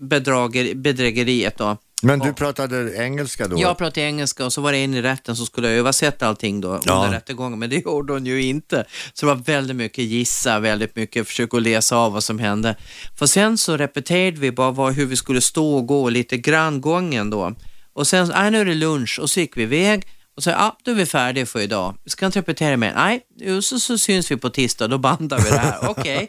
Speaker 3: bedrager, bedrägeriet då.
Speaker 2: Men du pratade engelska då?
Speaker 3: Jag pratade engelska och så var det en i rätten som skulle översätta allting då
Speaker 2: Ja.
Speaker 3: under rättegången, men det gjorde hon ju inte. Så det var väldigt mycket gissa, väldigt mycket försöka att läsa av vad som hände. För sen så repeterade vi bara vad, hur vi skulle stå och gå lite grann gången då. Och sen, nej nu är det lunch och så gick vi iväg och så, ja, ah, då är vi färdiga för idag. Vi ska inte repetera mer. Nej, jo, så, så syns vi på tisdag, då bandar vi det här. <laughs> Okej.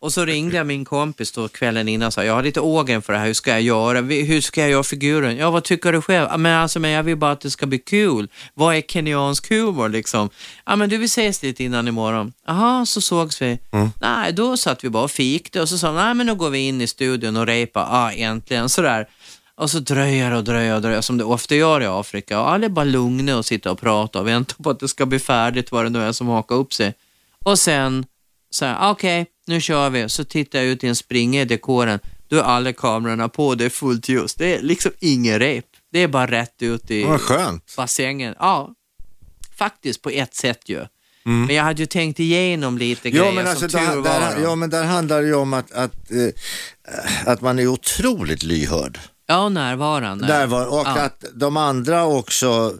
Speaker 3: Och så ringde jag min kompis då kvällen innan och sa, jag har lite ågen för det här, hur ska jag göra? Vi- Hur ska jag göra figuren? Ja, vad tycker du själv? "Ja, Men alltså, men jag vill bara att det ska bli kul. Vad är kenyansk humor liksom? Ja, men du, vi ses lite innan imorgon. Jaha, så sågs vi. Nej, då satt vi bara och fikade och så sa de, nej men nu går vi in i studion och repar, ah, äntligen, sådär. Och så dröjer och dröjer och dröjer, som det ofta gör i Afrika. Och alla är bara lugna och sitter och pratar och väntar på att det ska bli färdigt, vad det nu är som hakar upp sig. Och sen, så här, okej, nu kör vi. Så tittar jag ut i en springa i dekoren. Då är alla kamerorna på, det är fullt ljus. Det är liksom ingen rep. Det är bara rätt ut i
Speaker 2: Vad skönt.
Speaker 3: bassängen. Ja, faktiskt på ett sätt ju. Men jag hade ju tänkt igenom lite
Speaker 2: Ja
Speaker 3: grejer
Speaker 2: Mm. men, alltså,
Speaker 3: som tur
Speaker 2: där, där,
Speaker 3: var.
Speaker 2: ja
Speaker 3: Ja,
Speaker 2: men där handlar det ju om att, att, eh, att man är otroligt lyhörd.
Speaker 3: ja närvarande.
Speaker 2: Där var, och
Speaker 3: ja.
Speaker 2: att de andra också,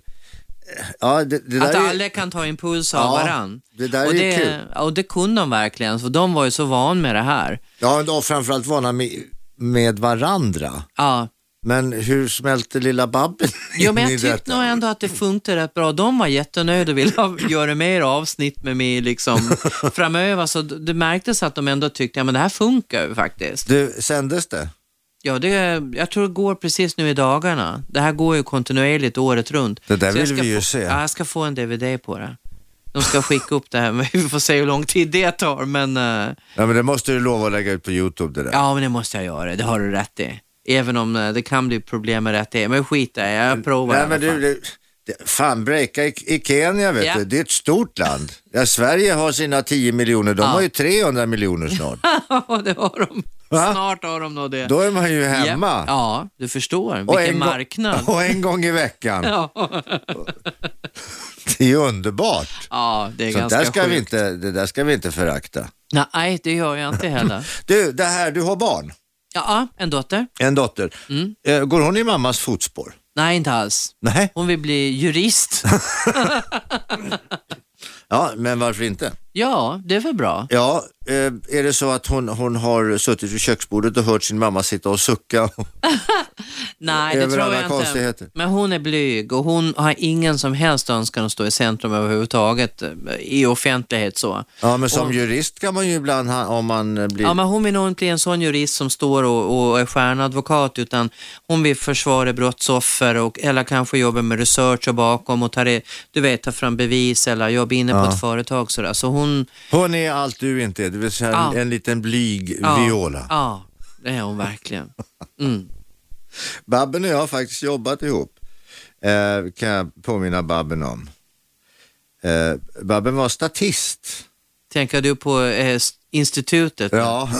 Speaker 2: eh, ja det, det där
Speaker 3: Att
Speaker 2: är,
Speaker 3: alla kan ta impuls av
Speaker 2: Ja,
Speaker 3: varann.
Speaker 2: det där
Speaker 3: och
Speaker 2: är ju
Speaker 3: det,
Speaker 2: kul.
Speaker 3: ja, Och det kunde de verkligen, för de var ju så van med det här.
Speaker 2: ja och framförallt vana med, med varandra.
Speaker 3: Ja.
Speaker 2: Men hur smälter lilla Babben
Speaker 3: Jo, men
Speaker 2: in i
Speaker 3: jag tyckte
Speaker 2: detta?
Speaker 3: nog ändå att det funkade rätt bra. De var jättenöjda och ville
Speaker 2: <laughs>
Speaker 3: ha- göra mer avsnitt med mig liksom, framöver. Så d- det märktes att de ändå tyckte att men det här funkar ju faktiskt.
Speaker 2: Du, sändes det?
Speaker 3: Ja, det, jag tror det går precis nu i dagarna. Det här går ju kontinuerligt året runt.
Speaker 2: Det där
Speaker 3: Så jag
Speaker 2: vill
Speaker 3: ska
Speaker 2: vi ju
Speaker 3: få,
Speaker 2: se.
Speaker 3: Ja, jag ska få en DVD på det. De ska skicka upp det här, <laughs> men vi får se hur lång tid det tar. Men, eh,
Speaker 2: Ja men det måste du lova att lägga ut på Youtube det där.
Speaker 3: Ja, men det måste jag göra. Det har du rätt i. Även om eh, det kan bli problem med rätt i. Men skit i det, jag provar
Speaker 2: Nej, men
Speaker 3: i alla
Speaker 2: du,
Speaker 3: fall.
Speaker 2: du, det- fan breaka i, i Kenya vet
Speaker 3: Ja.
Speaker 2: du, det är ett stort land. Ja, Sverige har sina 10 miljoner, de
Speaker 3: Ja.
Speaker 2: har ju 300 miljoner
Speaker 3: <laughs>
Speaker 2: snart.
Speaker 3: Ja, det har de.
Speaker 2: Va?
Speaker 3: Snart har de nog det.
Speaker 2: Då är man ju hemma.
Speaker 3: Ja, ja du förstår. Vilken
Speaker 2: gång-
Speaker 3: marknad.
Speaker 2: och en gång i veckan.
Speaker 3: <laughs> Ja.
Speaker 2: Det är ju underbart.
Speaker 3: ja, det är
Speaker 2: Så
Speaker 3: ganska
Speaker 2: där ska
Speaker 3: sjukt.
Speaker 2: vi inte, det där ska vi inte förakta.
Speaker 3: Nej, det gör jag
Speaker 2: <laughs>
Speaker 3: inte heller.
Speaker 2: Du, det här, du har barn,
Speaker 3: Ja, en dotter?
Speaker 2: en dotter.
Speaker 3: Mm.
Speaker 2: Eh, Går hon i mammas fotspår?
Speaker 3: Nej, inte alls.
Speaker 2: Nej,
Speaker 3: Hon vill bli
Speaker 2: <laughs>
Speaker 3: jurist.
Speaker 2: ja, men varför inte?
Speaker 3: Ja, det är väl bra.
Speaker 2: Ja, eh, är det så att hon, hon har suttit vid köksbordet och hört sin mamma sitta och sucka? <laughs>
Speaker 3: Nej, det
Speaker 2: Över
Speaker 3: tror
Speaker 2: alla
Speaker 3: jag inte.
Speaker 2: konstigheter.
Speaker 3: Men hon är blyg och hon har ingen som helst önskan att stå i centrum överhuvudtaget eh, i offentlighet så.
Speaker 2: Ja, men som jurist kan man ju ibland, ha, om man eh, blir...
Speaker 3: Ja, men hon vill nog inte bli en sån jurist som står och, och är stjärnadvokat utan hon vill försvara brottsoffer och, eller kanske jobba med research och bakom och ta, re, du vet, ta fram bevis eller jobba inne på ett företag. Sådär. Så hon,
Speaker 2: Hon är allt du inte är, det vill säga en,
Speaker 3: Ja.
Speaker 2: en liten blyg
Speaker 3: ja,
Speaker 2: viola.
Speaker 3: Ja, det är hon verkligen.
Speaker 2: Babben och jag har faktiskt jobbat ihop, eh, kan jag påminna Babben om. Eh, Babben var statist.
Speaker 3: Tänker du på eh, s- institutet?
Speaker 2: Ja,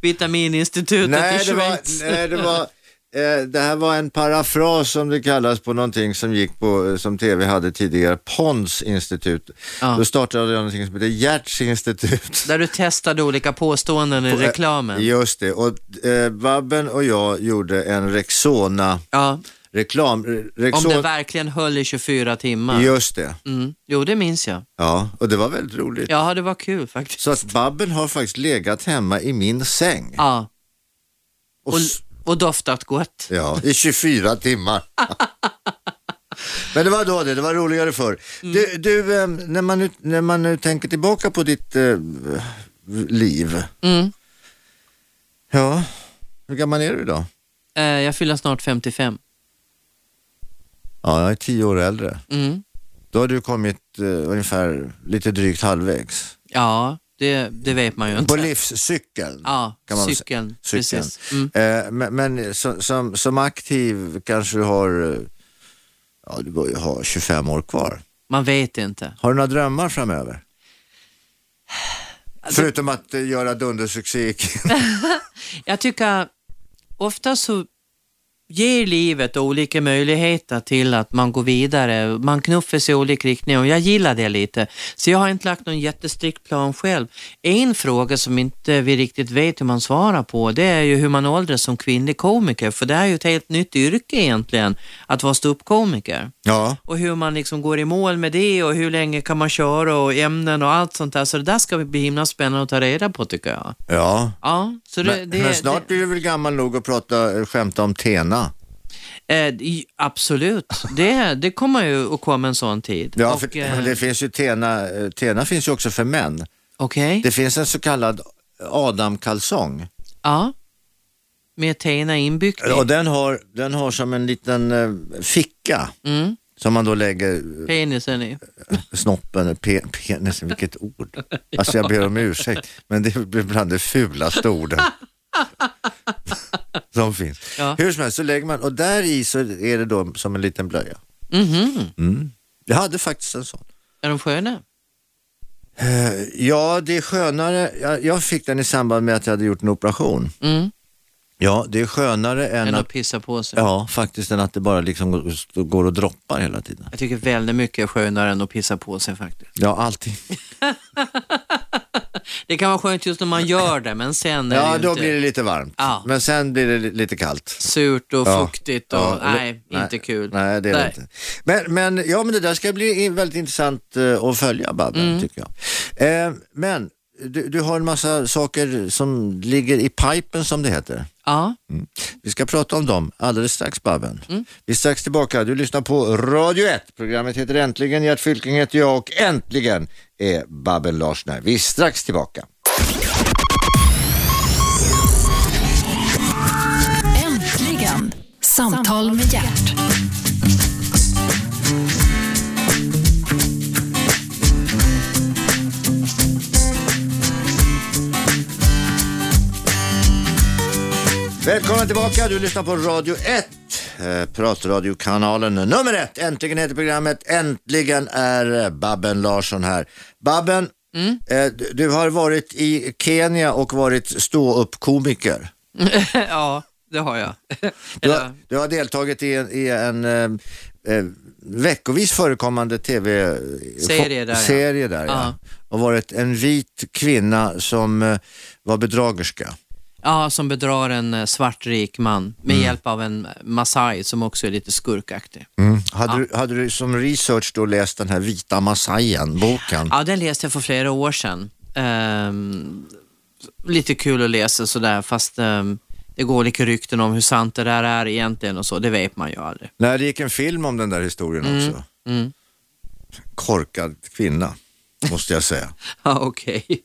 Speaker 3: Vitamininstitutet i
Speaker 2: nej, det
Speaker 3: Schweiz?
Speaker 2: var, nej det var, eh, det här var en parafras som det kallas på någonting som gick på, eh, som tv hade tidigare, Pons institut.
Speaker 3: Ja.
Speaker 2: Då startade jag någonting som heter Gerts institut.
Speaker 3: Där du testade olika påståenden
Speaker 2: eh,
Speaker 3: i reklamen?
Speaker 2: Just det, och eh, Babben och jag gjorde en Rexona-reklam. eh,
Speaker 3: Ja, om
Speaker 2: Rexona,
Speaker 3: det verkligen höll i 24 timmar.
Speaker 2: just det,
Speaker 3: Mm. Jo, det minns jag.
Speaker 2: ja, och det var väldigt roligt.
Speaker 3: Ja, det var kul faktiskt.
Speaker 2: Så att Babben har faktiskt legat hemma i min säng.
Speaker 3: Ja,
Speaker 2: Och,
Speaker 3: och,
Speaker 2: s-
Speaker 3: och doftat gott.
Speaker 2: ja, I 24
Speaker 3: <laughs>
Speaker 2: timmar. Men det var då det, det var roligare förr.
Speaker 3: Mm.
Speaker 2: Du, du eh, när, man nu, när man nu tänker tillbaka på ditt eh, liv.
Speaker 3: Mm.
Speaker 2: Ja, hur gammal är du idag?
Speaker 3: Eh, jag fyller snart 55.
Speaker 2: Ja, jag är tio år äldre.
Speaker 3: Mm.
Speaker 2: Då har du kommit eh, ungefär lite drygt halvvägs.
Speaker 3: Ja, det, det vet man ju inte.
Speaker 2: På livscykeln.
Speaker 3: Ja,
Speaker 2: kan man väl säga.
Speaker 3: cykeln.
Speaker 2: cykeln.
Speaker 3: Precis. Mm.
Speaker 2: Eh, men men som, som, som aktiv kanske du har, eh, ja du bör ju ha 25 år kvar.
Speaker 3: Man vet inte.
Speaker 2: Har du några drömmar framöver?
Speaker 3: Alltså-
Speaker 2: Förutom att eh, göra dundersuccé i
Speaker 3: <laughs>
Speaker 2: Kina.
Speaker 3: Jag tycker ofta så ger livet olika möjligheter till att man går vidare. Man knuffar sig i olika riktningar och jag gillar det lite. Så jag har inte lagt någon jättestrikt plan själv. En fråga som inte vi riktigt vet hur man svarar på det är ju hur man åldras som kvinnlig komiker. För det är ju ett helt nytt yrke egentligen att vara ståuppkomiker.
Speaker 2: Ja,
Speaker 3: Och hur man liksom går i mål med det och hur länge kan man köra och ämnen och allt sånt där. Så det där ska bli himla spännande att ta reda på tycker jag.
Speaker 2: ja.
Speaker 3: Ja, så det,
Speaker 2: Men,
Speaker 3: det,
Speaker 2: men snart
Speaker 3: det-
Speaker 2: blir du väl gammal nog att prata, eh, skämta om Tena?
Speaker 3: Eh, i- absolut, det, det kommer ju att komma en sån tid.
Speaker 2: Ja,
Speaker 3: Och,
Speaker 2: för,
Speaker 3: eh,
Speaker 2: det finns ju Tena, eh, Tena finns ju också för män.
Speaker 3: Okej,
Speaker 2: Det finns en så kallad Adam-kalsong.
Speaker 3: ja. Med Tena inbyggt i
Speaker 2: Och den har, den har som en liten eh, ficka
Speaker 3: mm.
Speaker 2: som man då lägger eh,
Speaker 3: penisen i.
Speaker 2: snoppen, pe penisen, vilket ord. Alltså jag ber om ursäkt, men det är bland de fulaste
Speaker 3: <laughs>
Speaker 2: orden som finns.
Speaker 3: Ja.
Speaker 2: Hur som helst så lägger man, och där i så är det då som en liten blöja.
Speaker 3: Mhm.
Speaker 2: Mm. Jag hade faktiskt en sån.
Speaker 3: Är de sköna?
Speaker 2: Eh, Ja, det är skönare. Jag, jag fick den i samband med att jag hade gjort en operation.
Speaker 3: Mm.
Speaker 2: Ja, det är skönare än,
Speaker 3: än
Speaker 2: att...
Speaker 3: att pissa på sig.
Speaker 2: Ja, faktiskt än att det bara liksom går- går och droppar hela tiden.
Speaker 3: Jag tycker väldigt mycket är skönare än att pissa på sig faktiskt.
Speaker 2: Ja, alltid.
Speaker 3: Det kan vara skönt just när man gör det, men sen är
Speaker 2: Ja,
Speaker 3: det ju
Speaker 2: då
Speaker 3: inte
Speaker 2: blir det lite varmt.
Speaker 3: Ja.
Speaker 2: Men sen blir det li- lite kallt.
Speaker 3: surt och
Speaker 2: Ja.
Speaker 3: fuktigt och
Speaker 2: Ja, eller-
Speaker 3: nej, inte kul.
Speaker 2: Nej, det är det inte. Men, men, ja, men det där ska bli in- väldigt intressant eh, att följa, Babben,
Speaker 3: Mm.
Speaker 2: tycker jag. Eh, men du, du har en massa saker som ligger i pipen, som det heter.
Speaker 3: Ja, <laughs>
Speaker 2: Vi ska prata om dem alldeles strax Babben.
Speaker 3: Mm.
Speaker 2: Vi är strax tillbaka. Du lyssnar på Radio 1. Programmet heter Äntligen. Gert Fylking heter jag och äntligen är Babben Larsson här. Vi är strax tillbaka.
Speaker 1: Äntligen! Samtal med hjärt.
Speaker 2: Välkomna tillbaka. Du lyssnar på Radio 1. Eh, pratradiokanalen nummer ett. Äntligen heter programmet. Äntligen är eh, Babben Larsson här. Babben,
Speaker 3: Mm.
Speaker 2: eh, du- du har varit i Kenya och varit ståuppkomiker.
Speaker 3: ja det har jag.
Speaker 2: Du
Speaker 3: Eller,
Speaker 2: har, du har deltagit i en, i en eh, eh, veckovis förekommande
Speaker 3: Serie där, ja.
Speaker 2: tv-serie där. Ja.
Speaker 3: Ja.
Speaker 2: Och varit en vit kvinna som eh, var bedragerska.
Speaker 3: ja, som bedrar en eh, svart rik man med
Speaker 2: Mm.
Speaker 3: hjälp av en eh, masai som också är lite skurkaktig.
Speaker 2: Mm. Hade, du, hade du som research då läst den här vita massajen, boken?
Speaker 3: Ja, den läste jag för flera år sedan. Ehm, lite kul att läsa sådär, fast ehm, det går lite rykten om hur sant det där är egentligen och så, det vet man ju aldrig. <laughs>
Speaker 2: Nej, det gick en film om den där historien också.
Speaker 3: Mm.
Speaker 2: Korkad kvinna, måste jag säga.
Speaker 3: Ja, okej. <laughs>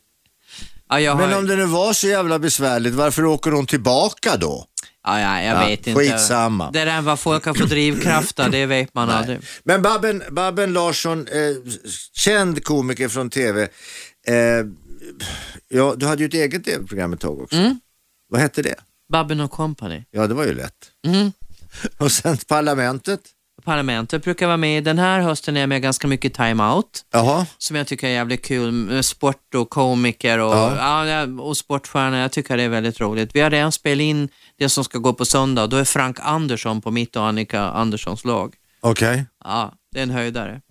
Speaker 3: Ja, jag har...
Speaker 2: Men om det nu var så jävla besvärligt, varför åker hon tillbaka då?
Speaker 3: ja, ja, jag
Speaker 2: Ja,
Speaker 3: vet inte.
Speaker 2: skitsamma.
Speaker 3: Det där vad folk har för drivkrafter, det vet man aldrig.
Speaker 2: Men Babben, Babben Larsson, eh, känd komiker från tv. Eh, ja, du hade ju ett eget tv-program ett tag också.
Speaker 3: Mm.
Speaker 2: Vad hette det?
Speaker 3: Babben och Company.
Speaker 2: Ja, det var ju lätt.
Speaker 3: Mm.
Speaker 2: <laughs> Och sen Parlamentet.
Speaker 3: Parlamentet brukar vara med. Den här hösten är jag med ganska mycket time-out.
Speaker 2: Jaha,
Speaker 3: som jag tycker är jävligt kul. med Sport och komiker och, ja. och sportstjärnor. Jag tycker det är väldigt roligt. Vi har redan spelat in det som ska gå på söndag. Då är Frank Andersson på mitt och Annika Anderssons lag.
Speaker 2: okej.
Speaker 3: Ja, det är
Speaker 2: <laughs>
Speaker 3: en höjdare.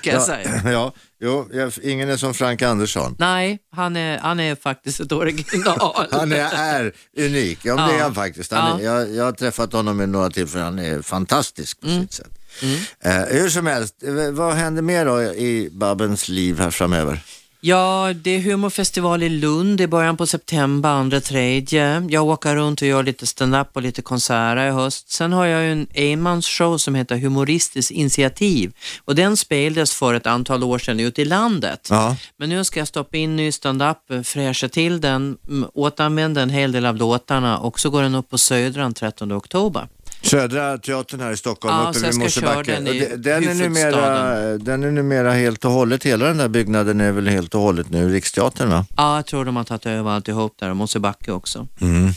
Speaker 3: kan jag säga.
Speaker 2: Ja, ja, jo, jag, ingen är som Frank Andersson.
Speaker 3: Nej, han är, han är faktiskt ett original.
Speaker 2: Han är, är unik, ja, men det är
Speaker 3: Ja.
Speaker 2: han faktiskt. Han är, jag, jag har träffat honom vid några tillfällen, han är fantastisk
Speaker 3: Mm.
Speaker 2: på sitt sätt. Eh, hur som helst, eh, vad händer mer då i Babbens liv här framöver?
Speaker 3: Ja, det är humorfestival i Lund i början på september, andra, tredje. Jag åker runt och gör lite stand-up och lite konserter i höst. Sen har jag ju en enmansshow som heter Humoristiskt initiativ och den spelades för ett antal år sedan ute i landet.
Speaker 2: Ja.
Speaker 3: Men nu ska jag stoppa in ny stand-up, fräscha till den, m- återanvända en hel del av låtarna och så går den upp på Södran 13 oktober.
Speaker 2: Södra teatern här i Stockholm,
Speaker 3: Ja, så
Speaker 2: uppe
Speaker 3: jag
Speaker 2: vid
Speaker 3: ska
Speaker 2: Mosebacke.
Speaker 3: köra den i
Speaker 2: Och de- den, är numera,
Speaker 3: huvudstaden.
Speaker 2: den är numera helt och hållet, hela den där byggnaden är väl helt och hållet nu Riksteatern va?
Speaker 3: Ja, jag tror de har tagit över alltihop där och Mosebacke också.
Speaker 2: Mm.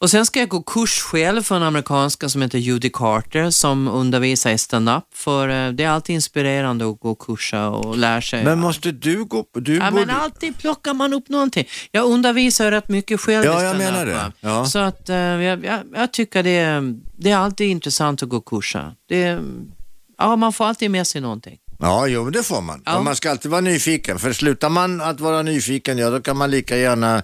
Speaker 3: Och sen ska jag gå kurs själv för en amerikanska som heter Judy Carter som undervisar i stand-up för eh, det är alltid inspirerande att gå och kursa och lära sig.
Speaker 2: Men måste du gå på... Du
Speaker 3: Ja,
Speaker 2: borde...
Speaker 3: men alltid plockar man upp någonting. Jag undervisar ju rätt mycket själv
Speaker 2: Ja,
Speaker 3: i
Speaker 2: jag
Speaker 3: stand-up,
Speaker 2: menar det.
Speaker 3: va?
Speaker 2: Ja.
Speaker 3: Så att eh, jag, jag, jag tycker det är, det är alltid intressant att gå och kursa. Det är, ja, man får alltid med sig någonting.
Speaker 2: Ja, jo, men det får man.
Speaker 3: Ja.
Speaker 2: Men man ska alltid vara nyfiken, för slutar man att vara nyfiken, ja då kan man lika gärna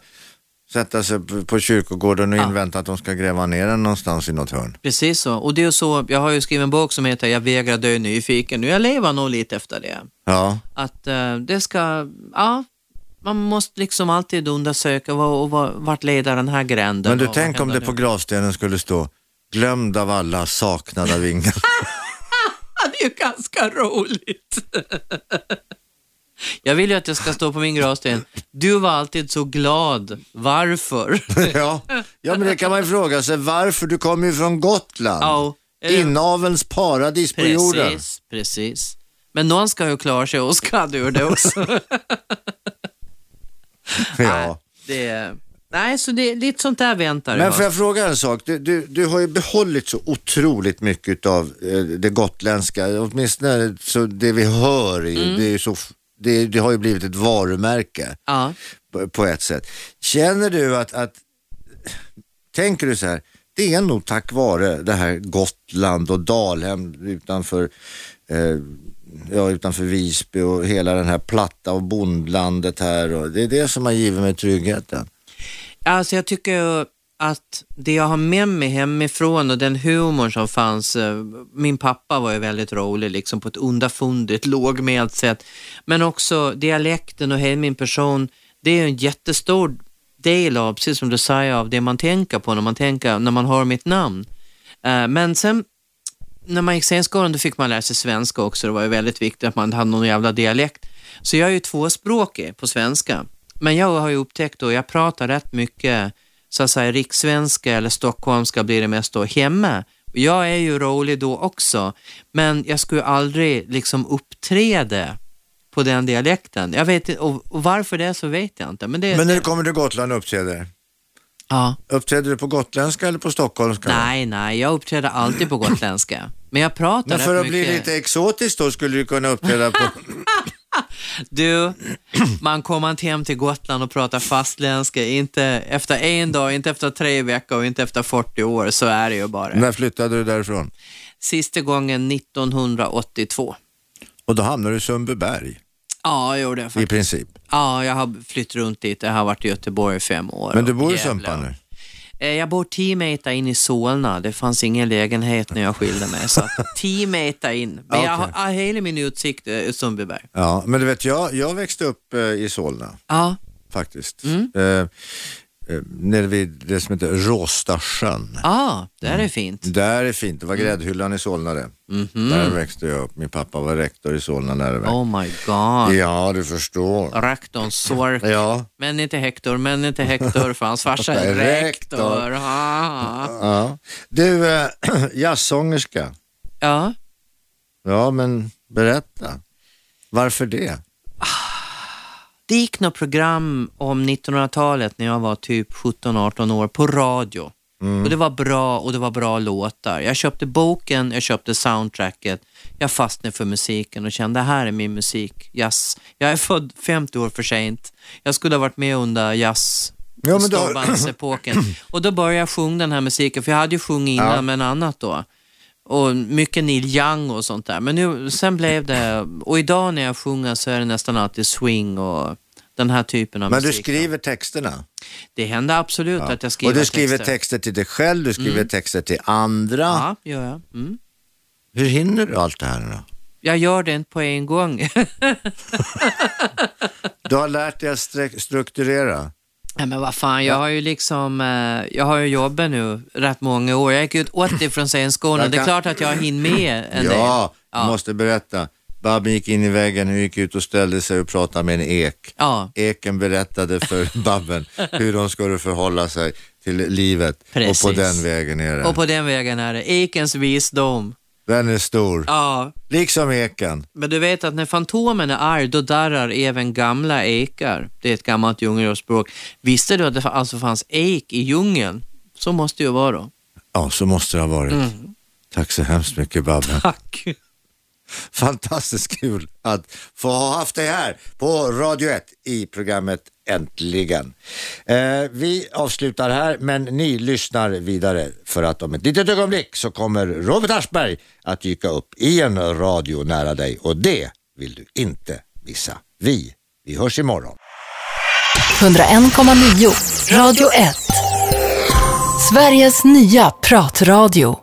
Speaker 2: sätta sig p- på kyrkogården och invänta att de ska gräva ner en någonstans i något hörn.
Speaker 3: Precis så. Och det är så, jag har ju skrivit en bok som heter Jag vägrar dö nyfiken. Nu jag lever nog lite efter det.
Speaker 2: Ja,
Speaker 3: Att eh, det ska, ja, man måste liksom alltid undersöka vad, och vad, vart leder den här gränden.
Speaker 2: men du,
Speaker 3: och vad
Speaker 2: tänk om
Speaker 3: händer
Speaker 2: det på
Speaker 3: nu?
Speaker 2: gravstenen skulle stå Glömd av alla, saknad av ingen. <laughs>
Speaker 3: Ja, det är ju ganska roligt. Jag vill ju att det ska stå på min gravsten. Du var alltid så glad. Varför?
Speaker 2: ja. ja, men det kan man ju fråga sig varför. Du kommer ju från Gotland.
Speaker 3: Ja, eller-
Speaker 2: Inavelns paradis <laughs> på jorden.
Speaker 3: Precis, precis. Men någon ska ju klara sig och ska du det också.
Speaker 2: Ja.
Speaker 3: Det är, nej, så det är lite sånt där väntar
Speaker 2: Men
Speaker 3: jag.
Speaker 2: får jag fråga en sak? Du, du, du har ju behållit så otroligt mycket av eh, det gotländska, åtminstone så det vi hör, är ju- det, är ju så, f- det, det har ju blivit ett varumärke
Speaker 3: Ja.
Speaker 2: på, på ett sätt. Känner du att, att tänker du så här, det är nog tack vare det här Gotland och Dalhem utanför, eh, ja, utanför Visby och hela den här platta och bondlandet här. Och det är det som har givit mig tryggheten.
Speaker 3: Alltså jag tycker att det jag har med mig hemifrån och den humorn som fanns. eh, Min pappa var ju väldigt rolig liksom på ett underfundigt, <laughs> lågmält sätt. Men också dialekten och hela min person. Det är ju en jättestor del av, precis som du säger, av det man tänker på när man, tänker, när man har mitt namn. Eh, Men sen när man gick scenskolan då fick man lära sig svenska också. Det var ju väldigt viktigt att man hade någon jävla dialekt. Så jag är ju tvåspråkig på svenska. Men jag har ju upptäckt då, jag pratar rätt mycket så att säga rikssvenska eller stockholmska blir det mest då hemma. Och Jag är ju rolig då också, men jag skulle ju aldrig liksom uppträda på den dialekten. Jag vet inte, och, och varför det är så vet jag inte. Men det är...
Speaker 2: Men när du kommer till Gotland och uppträder,
Speaker 3: ja.
Speaker 2: uppträder du på gotländska eller på stockholmska?
Speaker 3: Nej, nej, jag uppträder alltid på gotländska. Men jag pratar
Speaker 2: Men
Speaker 3: rätt
Speaker 2: för att
Speaker 3: mycket...
Speaker 2: bli lite exotisk då skulle du kunna uppträda
Speaker 3: <laughs>
Speaker 2: på...
Speaker 3: Du, man kommer inte hem till Gotland och pratar fastländska, inte efter en dag, inte efter tre veckor och inte efter 40 år, så är det ju bara.
Speaker 2: När flyttade du därifrån?
Speaker 3: Sista gången 1982.
Speaker 2: Och då hamnade du i Sundbyberg
Speaker 3: Ja, jag gjorde det
Speaker 2: i
Speaker 3: faktiskt.
Speaker 2: princip.
Speaker 3: Ja, jag har flytt runt dit. Jag har varit i Göteborg i fem år.
Speaker 2: Men du
Speaker 3: och
Speaker 2: bor i
Speaker 3: Gävle.
Speaker 2: Sumpan nu?
Speaker 3: Eh, Jag bor 10 meter in i Solna. Det fanns ingen lägenhet när jag skilde mig.
Speaker 2: <laughs>
Speaker 3: Så att 10 meter in. Men jag har
Speaker 2: Okej.
Speaker 3: ah, hela min utsikt är Sundbyberg.
Speaker 2: Ja, men du vet jag, jag växte upp eh, i Solna
Speaker 3: Ja,
Speaker 2: faktiskt.
Speaker 3: Mm.
Speaker 2: Eh, eh, nere vid det som heter Råstasjön.
Speaker 3: ja det Ah, är fint.
Speaker 2: Där är fint, det var
Speaker 3: Mm.
Speaker 2: gräddhyllan i Solna det.
Speaker 3: Mhm.
Speaker 2: Där växte jag upp, min pappa var rektor i Solna läroverk.
Speaker 3: Oh my god.
Speaker 2: Ja, du förstår.
Speaker 3: Rektorn Sork.
Speaker 2: Ja,
Speaker 3: Men inte Hector, men inte Hector, för
Speaker 2: <laughs>
Speaker 3: hans farsa är
Speaker 2: Rektor.
Speaker 3: rektor. Ah.
Speaker 2: ja. Du, eh, <clears throat> jazzsångerska.
Speaker 3: Ja.
Speaker 2: Ja, men berätta. Varför det?
Speaker 3: Det gick något program om 1900-talet när jag var typ 17-18 år på radio.
Speaker 2: Mm.
Speaker 3: Och Det var bra och det var bra låtar. Jag köpte boken, jag köpte soundtracket. Jag fastnade för musiken och kände det här är min musik. Jazz. Jag är född 50 år för sent. Jag skulle ha varit med under jazz
Speaker 2: Ja, men då-
Speaker 3: storbandsepoken. Och då började jag sjunga den här musiken, för jag hade ju sjungit innan men annat då. Och mycket Neil Young och sånt där. Men nu, sen blev det, och idag när jag sjunger så är det nästan alltid swing och den här typen av
Speaker 2: Men du
Speaker 3: musik.
Speaker 2: skriver texterna?
Speaker 3: Det händer absolut att jag skriver
Speaker 2: Och du skriver
Speaker 3: texter. Mm.
Speaker 2: texter, till dig själv, du skriver texter till andra.
Speaker 3: Ja, gör jag. Mm.
Speaker 2: Hur hinner du allt det här nu då?
Speaker 3: Jag gör det inte på en gång. <laughs>
Speaker 2: Du har lärt dig att strek- strukturera.
Speaker 3: Nej men vad fan, jag har ju liksom, eh, jag har ju jobbat nu rätt många år. Jag gick ut 80 från scenskolan,
Speaker 2: Jag
Speaker 3: det är
Speaker 2: kan-
Speaker 3: klart att jag hinner med en del.
Speaker 2: Ja, jag måste berätta. Babben gick in i väggen, hon gick ut och ställde sig och pratade med en ek.
Speaker 3: Ja.
Speaker 2: Eken berättade
Speaker 3: <laughs>
Speaker 2: för Babben hur de skulle förhålla sig till livet.
Speaker 3: Precis.
Speaker 2: Och på den vägen är det.
Speaker 3: Och på den vägen är det. Ekens visdom.
Speaker 2: Den är stor,
Speaker 3: Ja,
Speaker 2: liksom eken.
Speaker 3: men du vet att när Fantomen är arg, då darrar även gamla ekar. Det är ett gammalt djungelspråk. Visste du att det fa- alltså fanns ek i djungeln? Så måste det ju vara då.
Speaker 2: Ja, så måste det ha varit. Tack så hemskt mycket
Speaker 3: <laughs>
Speaker 2: Babben.
Speaker 3: Tack.
Speaker 2: Fantastiskt kul att få ha haft dig här på Radio 1 i programmet Äntligen. Eh, vi avslutar här men ni lyssnar vidare för att om ett litet ögonblick så kommer Robert Aschberg att dyka upp i en radio nära dig och det vill du inte missa. Vi, vi hörs imorgon.
Speaker 1: 101,9 Radio 1. Sveriges nya pratradio.